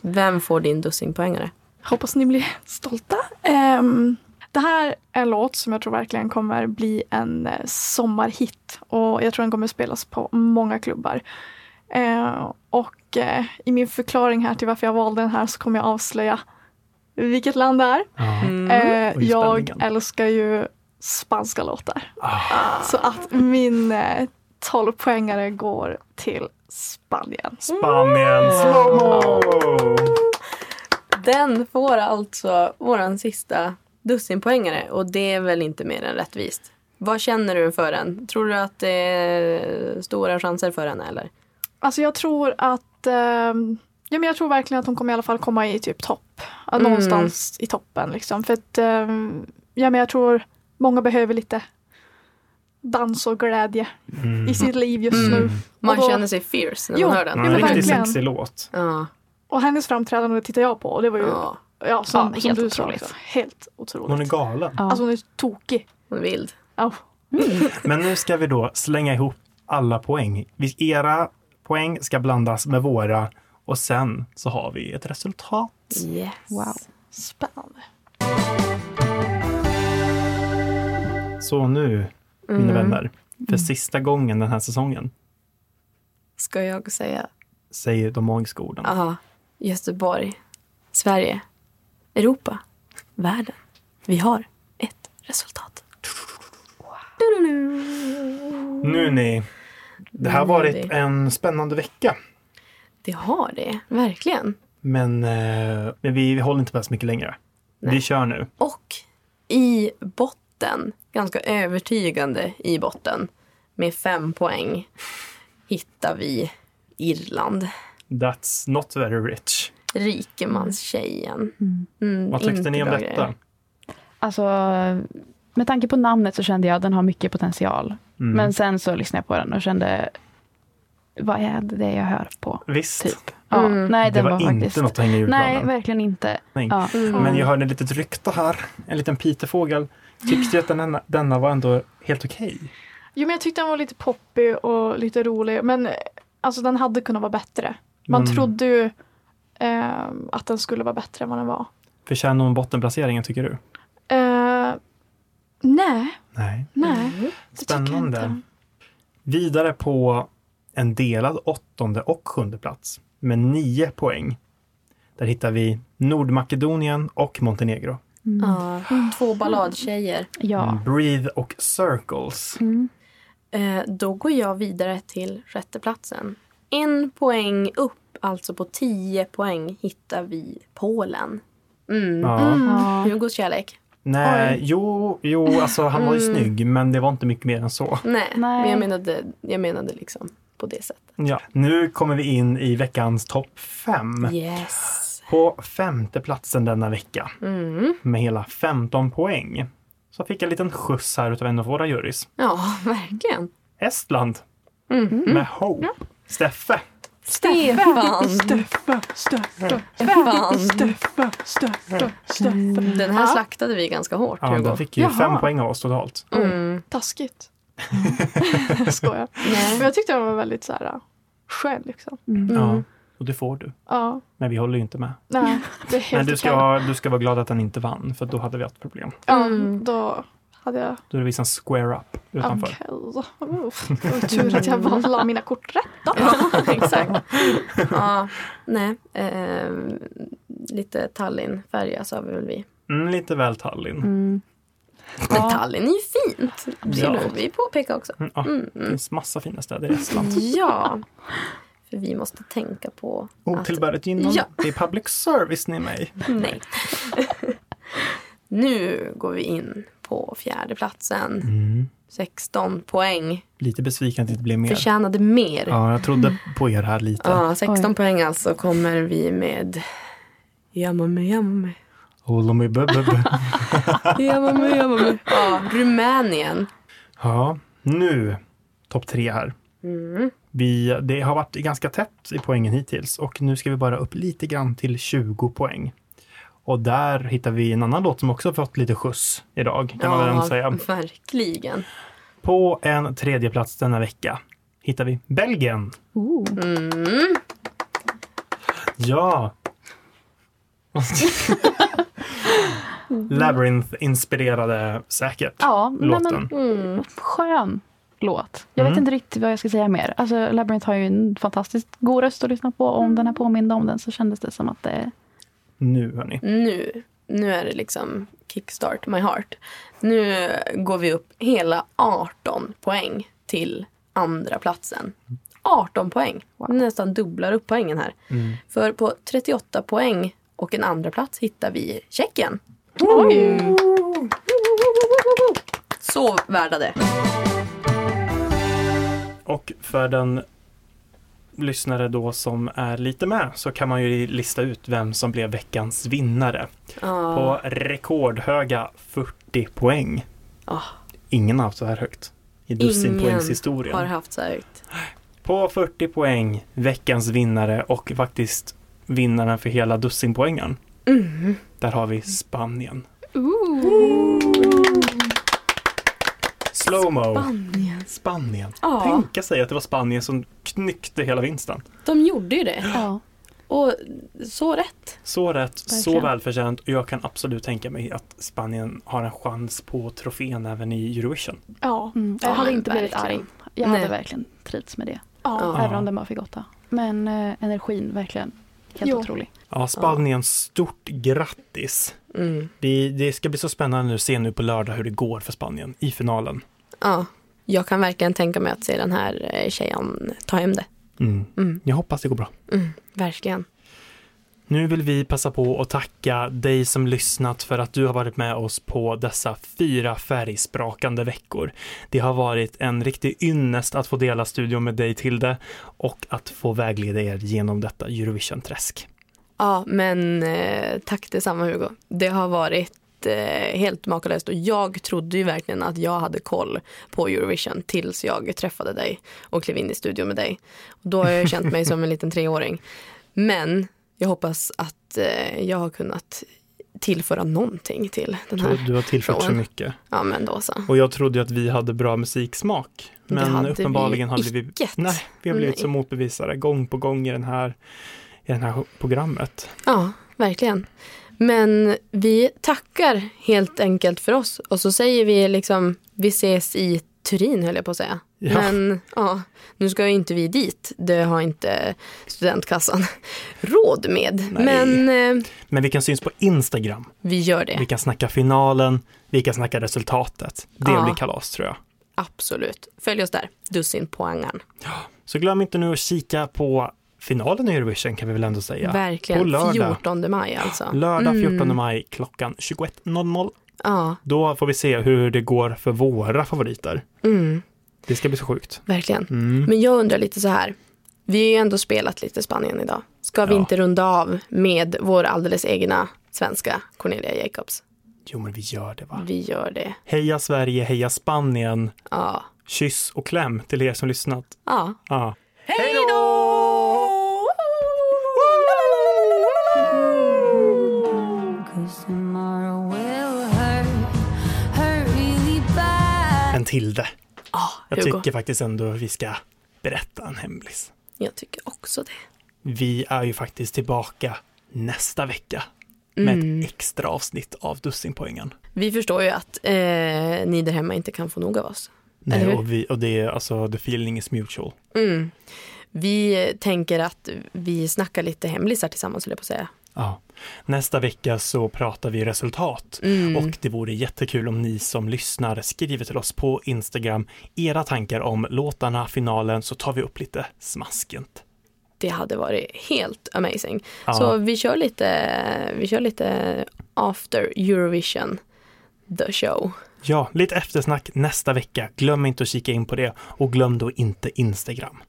Speaker 2: Vem får din dussinpoängare?
Speaker 7: Hoppas ni blir [laughs] stolta. Ehm, det här är en låt som jag tror verkligen kommer bli en eh, sommarhit. Och jag tror den kommer spelas på många klubbar. Eh, och eh, i min förklaring här till varför jag valde den här så kommer jag avslöja vilket land det är.
Speaker 1: Ja.
Speaker 7: Eh,
Speaker 1: Mm. Oj,
Speaker 7: jag
Speaker 1: spänningen. Ah.
Speaker 7: älskar ju spanska låtar. Så att min eh, 12-poängare går till Spanien.
Speaker 1: Spanien, slowmo!
Speaker 2: Den får alltså våran sista dussinpoängare och det är väl inte mer än rättvist. Vad känner du för den? Tror du att det är stora chanser för henne eller?
Speaker 7: Alltså jag tror att ehm, Ja, men jag tror verkligen att hon kommer i alla fall komma i typ topp. Ja,
Speaker 2: Mm.
Speaker 7: Någonstans i toppen liksom. För att, ehm, ja, men jag tror många behöver lite dans och glädje i sitt liv just nu.
Speaker 2: Man
Speaker 7: Och då-
Speaker 2: känner sig fierce när
Speaker 7: Jo,
Speaker 2: man hör
Speaker 1: Ja,
Speaker 2: den.
Speaker 7: men
Speaker 1: en riktigt
Speaker 7: verkligen.
Speaker 1: sexig låt.
Speaker 2: Ja.
Speaker 7: Och hennes framträdande tittar jag på och det var ju
Speaker 2: Ja.
Speaker 7: ja, som,
Speaker 9: Ja,
Speaker 7: som
Speaker 9: helt
Speaker 7: du sa.
Speaker 9: otroligt.
Speaker 7: också. Helt otroligt.
Speaker 1: Hon är galen.
Speaker 9: Ja.
Speaker 7: Alltså hon är tokig.
Speaker 2: Hon är vild.
Speaker 7: Ja.
Speaker 1: Men nu ska vi då slänga ihop alla poäng. Vi- Era poäng ska blandas med våra och sen så har vi ett resultat.
Speaker 2: Yes.
Speaker 9: Wow.
Speaker 7: Spännande.
Speaker 1: Så nu, mina vänner, för sista gången den här säsongen,
Speaker 2: Ska jag säga?
Speaker 1: säger de magiska orden.
Speaker 2: Ja. Göteborg. Sverige. Europa. Världen. Vi har ett resultat.
Speaker 1: Nu ni, det har
Speaker 2: Nu,
Speaker 1: varit
Speaker 2: ni.
Speaker 1: en spännande vecka.
Speaker 2: Det har det. Verkligen.
Speaker 1: Men, eh, men vi, vi håller inte på så mycket längre. Vi kör nu.
Speaker 2: Och i botten, ganska övertygande i botten, med fem poäng hittar vi Irland.
Speaker 1: That's not very rich.
Speaker 2: Rikemanstjejen.
Speaker 1: Vad tyckte
Speaker 2: Mm, inte
Speaker 1: ni om
Speaker 2: bra
Speaker 1: detta?
Speaker 2: grejer.
Speaker 9: Alltså, med tanke på namnet så kände jag att den har mycket
Speaker 1: Mm.
Speaker 9: potential. Men sen så lyssnade jag på den och kände, vad är det jag hör på?
Speaker 1: Visst.
Speaker 9: Typ. Ja, nej,
Speaker 1: Det
Speaker 9: den
Speaker 1: var,
Speaker 9: var,
Speaker 1: inte
Speaker 9: faktiskt...
Speaker 1: något att hänga i julgranen.
Speaker 9: Nej, verkligen inte.
Speaker 1: Nej.
Speaker 9: Ja.
Speaker 1: Men jag hörde ett litet rykte här. En liten pitefågel tyckte ju att denna, denna var ändå helt okej.
Speaker 7: Jo men jag tyckte den var lite poppig och lite rolig. Men eh, alltså den hade kunnat vara bättre. Man
Speaker 1: Mm.
Speaker 7: trodde ju eh, att den skulle vara bättre än vad den var.
Speaker 1: Förtjänar hon bottenplaceringen tycker du?
Speaker 7: Eh, nej,
Speaker 1: Nej.
Speaker 7: nej. det tycker jag
Speaker 1: Spännande.
Speaker 7: inte.
Speaker 1: Vidare på en delad åttonde och sjunde plats med nio poäng. Där hittar vi Nordmakedonien och Montenegro.
Speaker 2: Ja, två balladtjejer.
Speaker 9: Ja.
Speaker 1: Breathe och Circles.
Speaker 2: Eh, då går jag vidare till sjätteplatsen. En poäng upp, alltså på tio poäng, hittar vi Polen. Mm.
Speaker 1: Ja.
Speaker 9: Ja.
Speaker 2: Hugos kärlek.
Speaker 1: Nej, jo, jo, alltså han var ju
Speaker 2: Mm.
Speaker 1: snygg, men det var inte mycket mer än så.
Speaker 2: Nej,
Speaker 9: Nej.
Speaker 2: Men jag menade, jag menade liksom på det sättet.
Speaker 1: Ja. Nu kommer vi in i veckans topp fem.
Speaker 2: Yes.
Speaker 1: På femte platsen denna vecka
Speaker 2: Mm.
Speaker 1: med hela 15 poäng så fick jag en liten skjuts här utav en av våra jurys.
Speaker 2: Ja, verkligen.
Speaker 1: Estland med Hope. Steffe.
Speaker 2: Stefan!
Speaker 7: Steffe, Steffe,
Speaker 2: Stefan.
Speaker 7: Steffe, Steffe, Steffe.
Speaker 2: Den här
Speaker 7: Mm. Ja.
Speaker 2: slaktade vi ganska hårt,
Speaker 1: Ja,
Speaker 2: Hugo.
Speaker 1: den fick ju
Speaker 7: Jaha.
Speaker 1: fem poäng av oss totalt.
Speaker 2: Mm.
Speaker 7: Taskigt. jag skojar. Men
Speaker 2: Nej. Mm.
Speaker 7: jag tyckte den var väldigt så här äh, skön liksom.
Speaker 1: Ja, och det får du.
Speaker 7: Ja,
Speaker 1: Men vi håller ju inte med.
Speaker 7: nej.
Speaker 1: [laughs]
Speaker 7: Det är helt
Speaker 1: Men du
Speaker 7: okej.
Speaker 1: ska, du ska vara glad att den inte vann, för då hade vi haft problem.
Speaker 7: Ja,
Speaker 2: Mm.
Speaker 7: då hade jag
Speaker 1: Då är det vi som square up utanför.
Speaker 7: Okej. Uff, Det var tur att jag valde alla mina kort rätt.
Speaker 2: Ja, [laughs] exakt. Ja, nej. Ehm, lite Tallinn-färja sa vi väl vi.
Speaker 1: Mm, lite väl Tallinn.
Speaker 9: Mm.
Speaker 2: Men Tallinn är ju fint.
Speaker 1: Ja.
Speaker 2: Det får vi påpeka också.
Speaker 1: Mm, ja, Det finns massa fina städer i
Speaker 2: Mm.
Speaker 1: Estland.
Speaker 2: Ja. För vi måste tänka på
Speaker 1: Otillbörligt gynnande.
Speaker 2: Ja.
Speaker 1: Det är public service ni mig.
Speaker 2: att... Nej. nu går vi in på fjärde platsen.
Speaker 1: Mm.
Speaker 2: 16 poäng.
Speaker 1: Lite besviken att det inte blev mer.
Speaker 2: Förtjänade mer. Ja,
Speaker 1: Ja, jag trodde på er här lite.
Speaker 2: 16
Speaker 9: Oj.
Speaker 2: poäng alltså kommer vi med Yamamu Yamamu.
Speaker 1: Håll om i bubbe.
Speaker 2: Yamamu
Speaker 1: [laughs]
Speaker 2: Yamamu. Ja, Rumänien.
Speaker 1: Ja, nu topp tre här.
Speaker 9: Mm.
Speaker 1: Vi, det har varit ganska tätt i poängen hittills och nu ska vi bara upp lite grann till 20 poäng. Och där hittar vi en annan låt som också fått lite skjuts idag, kan man väl säga.
Speaker 2: verkligen.
Speaker 1: På en tredje plats denna vecka hittar vi Belgien.
Speaker 9: Oh.
Speaker 2: Mm.
Speaker 9: [laughs]
Speaker 1: Ja! Labyrinth-inspirerade säkert.
Speaker 9: Ja, nej,
Speaker 1: Låten. Mm.
Speaker 9: men
Speaker 2: Mm.
Speaker 9: skön låt. Jag vet inte riktigt vad jag ska säga mer. Alltså, Labyrinth har ju en fantastiskt god röst att lyssna på. Och Om den här påminde om den så kändes det som att det...
Speaker 1: Nu hörni.
Speaker 2: Nu, nu är det liksom kickstart my heart. Nu går vi upp hela 18 poäng till andra platsen. 18 poäng. Nästan dubblar upp poängen här.
Speaker 9: Mm.
Speaker 2: För på 38 poäng och en andra plats hittar vi Tjeckien.
Speaker 7: Oj!
Speaker 2: Så värda det.
Speaker 1: Och för den lyssnare då som är lite med så kan man ju lista ut vem som blev veckans vinnare. På rekordhöga 40 poäng.
Speaker 2: Ah.
Speaker 1: Ingen har haft så här högt. i
Speaker 2: Ingen
Speaker 1: dussinpoängshistorien.
Speaker 2: har haft så högt.
Speaker 1: På 40 poäng, veckans vinnare och faktiskt vinnaren för hela dussinpoängen.
Speaker 2: Mm.
Speaker 1: Där har vi Spanien. Slowmo.
Speaker 2: Spanien.
Speaker 1: Spanien.
Speaker 2: Ja,
Speaker 1: Tänka sig att det var Spanien som knyckte hela vinsten.
Speaker 2: de gjorde ju det.
Speaker 9: Ja.
Speaker 2: Och så rätt.
Speaker 1: Så rätt, så
Speaker 9: Verkligen.
Speaker 1: välförtjänt och jag kan absolut tänka mig att Spanien har en chans på trofén även i Eurovision.
Speaker 7: Ja.
Speaker 9: Mm. Jag
Speaker 7: Ja,
Speaker 9: hade inte blivit
Speaker 7: verkligen.
Speaker 9: arg. Jag hade
Speaker 2: Nej.
Speaker 9: verkligen trivts med det.
Speaker 7: ja.
Speaker 2: Ja.
Speaker 9: Även om den var för gotta. Men eh, energin verkligen helt
Speaker 7: Jo.
Speaker 9: otrolig.
Speaker 1: Ja, Spanien, stort grattis!
Speaker 2: Mm.
Speaker 1: Vi, det ska bli så spännande att se nu på lördag hur det går för Spanien i finalen.
Speaker 2: Ja, jag kan verkligen tänka mig att se den här eh, tjejen ta hem det.
Speaker 1: Mm.
Speaker 2: Mm.
Speaker 1: Jag hoppas det går bra.
Speaker 2: Mm. Verkligen.
Speaker 1: Nu vill vi passa på att tacka dig som lyssnat för att du har varit med oss på dessa fyra färgsprakande veckor. Det har varit en riktig ynnest att få dela studion med dig Tilde och att få vägleda er genom detta Eurovision-träsk.
Speaker 2: Ja, men eh, tack detsamma Hugo. Det har varit eh, helt makalöst och jag trodde ju verkligen att jag hade koll på Eurovision tills jag träffade dig och klev in i studion med dig. Och då har jag ju känt mig som en liten treåring. Men jag hoppas att eh, jag har kunnat tillföra någonting till den
Speaker 1: tror
Speaker 2: här.
Speaker 1: du har tillfört så
Speaker 2: frågan.
Speaker 1: mycket.
Speaker 2: Ja, men då så.
Speaker 1: Och jag trodde ju att vi hade bra musiksmak.
Speaker 2: Det
Speaker 1: Men
Speaker 2: hade
Speaker 1: uppenbarligen
Speaker 2: vi
Speaker 1: hade vi...
Speaker 2: icket.
Speaker 1: Nej, vi har blivit
Speaker 2: Nej.
Speaker 1: som motbevisare gång på gång i den här i det här programmet.
Speaker 2: Ja, verkligen. Men vi tackar helt enkelt för oss och så säger vi liksom vi ses i Turin höll jag på att säga.
Speaker 1: Ja.
Speaker 2: Men ja, nu ska ju inte vi dit. Det har inte studentkassan [laughs] råd med.
Speaker 1: Nej.
Speaker 2: Men eh,
Speaker 1: Men vi kan syns på Instagram.
Speaker 2: vi gör det.
Speaker 1: Vi kan snacka finalen, vi kan snacka resultatet. Det
Speaker 2: Ja.
Speaker 1: blir kalas tror jag.
Speaker 2: Absolut. Följ oss där. Dussin poängen.
Speaker 1: Så glöm inte nu att kika på finalen i Eurovision kan vi väl ändå säga. På
Speaker 2: Verkligen.
Speaker 1: lördag.
Speaker 2: 14 maj alltså.
Speaker 1: Lördag 14
Speaker 2: Mm.
Speaker 1: maj klockan 21.00.
Speaker 2: Ja,
Speaker 1: Då får vi se hur det går för våra favoriter.
Speaker 2: mm,
Speaker 1: Det ska bli så sjukt.
Speaker 2: verkligen.
Speaker 1: Mm.
Speaker 2: Men jag undrar lite så här. Vi har ju ändå spelat lite Spanien idag. Ska vi
Speaker 1: Ja.
Speaker 2: inte runda av med vår alldeles egna svenska Cornelia Jacobs?
Speaker 1: Jo men vi gör det va.
Speaker 2: Vi gör det.
Speaker 1: Heja Sverige, heja Spanien.
Speaker 2: Ja.
Speaker 1: Kyss och kläm till er som lyssnat.
Speaker 2: ja.
Speaker 1: Ja.
Speaker 4: Cause tomorrow will hurt, hurt really bad.
Speaker 1: En Tilde. Jag
Speaker 2: Hugo.
Speaker 1: tycker faktiskt ändå vi ska berätta en hemlis.
Speaker 2: Jag tycker också det.
Speaker 1: Vi är ju faktiskt tillbaka nästa vecka med
Speaker 2: Mm.
Speaker 1: ett extra avsnitt av Dussinpoängen.
Speaker 2: Vi förstår ju att eh, ni där hemma inte kan få nog av oss. Eller
Speaker 1: Nej,
Speaker 2: hur?
Speaker 1: och, vi, och det är alltså the feeling is mutual.
Speaker 2: Mm. Vi tänker att vi snackar lite hemlisar tillsammans, höll jag på att säga.
Speaker 1: Ja. Nästa vecka så pratar vi resultat
Speaker 2: Mm.
Speaker 1: och det vore jättekul om ni som lyssnar skriver till oss på Instagram era tankar om låtarna, finalen, så tar vi upp lite smaskigt.
Speaker 2: Det hade varit helt amazing.
Speaker 1: Ja.
Speaker 2: Så vi kör lite, vi kör lite after Eurovision, the show.
Speaker 1: Ja, lite eftersnack nästa vecka. Glöm inte att kika in på det och glöm då inte Instagram.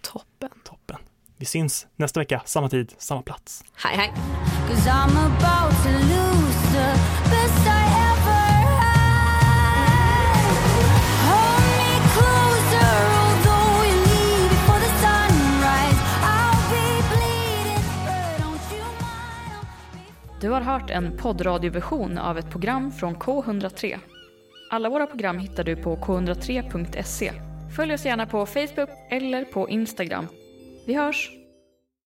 Speaker 2: Toppen.
Speaker 1: Toppen. Vi syns nästa vecka, samma tid, samma plats.
Speaker 2: Hej, hej.
Speaker 4: Cause I'm about to lose the best I ever had. Hold me closer, although you leave before the sunrise. I'll be bleeding, but don't you mind? I'll be
Speaker 8: Du har hört en poddradioversion av ett program från K103. Alla våra program hittar du på k103.se. Följ oss gärna på Facebook eller på Instagram. Vi hörs!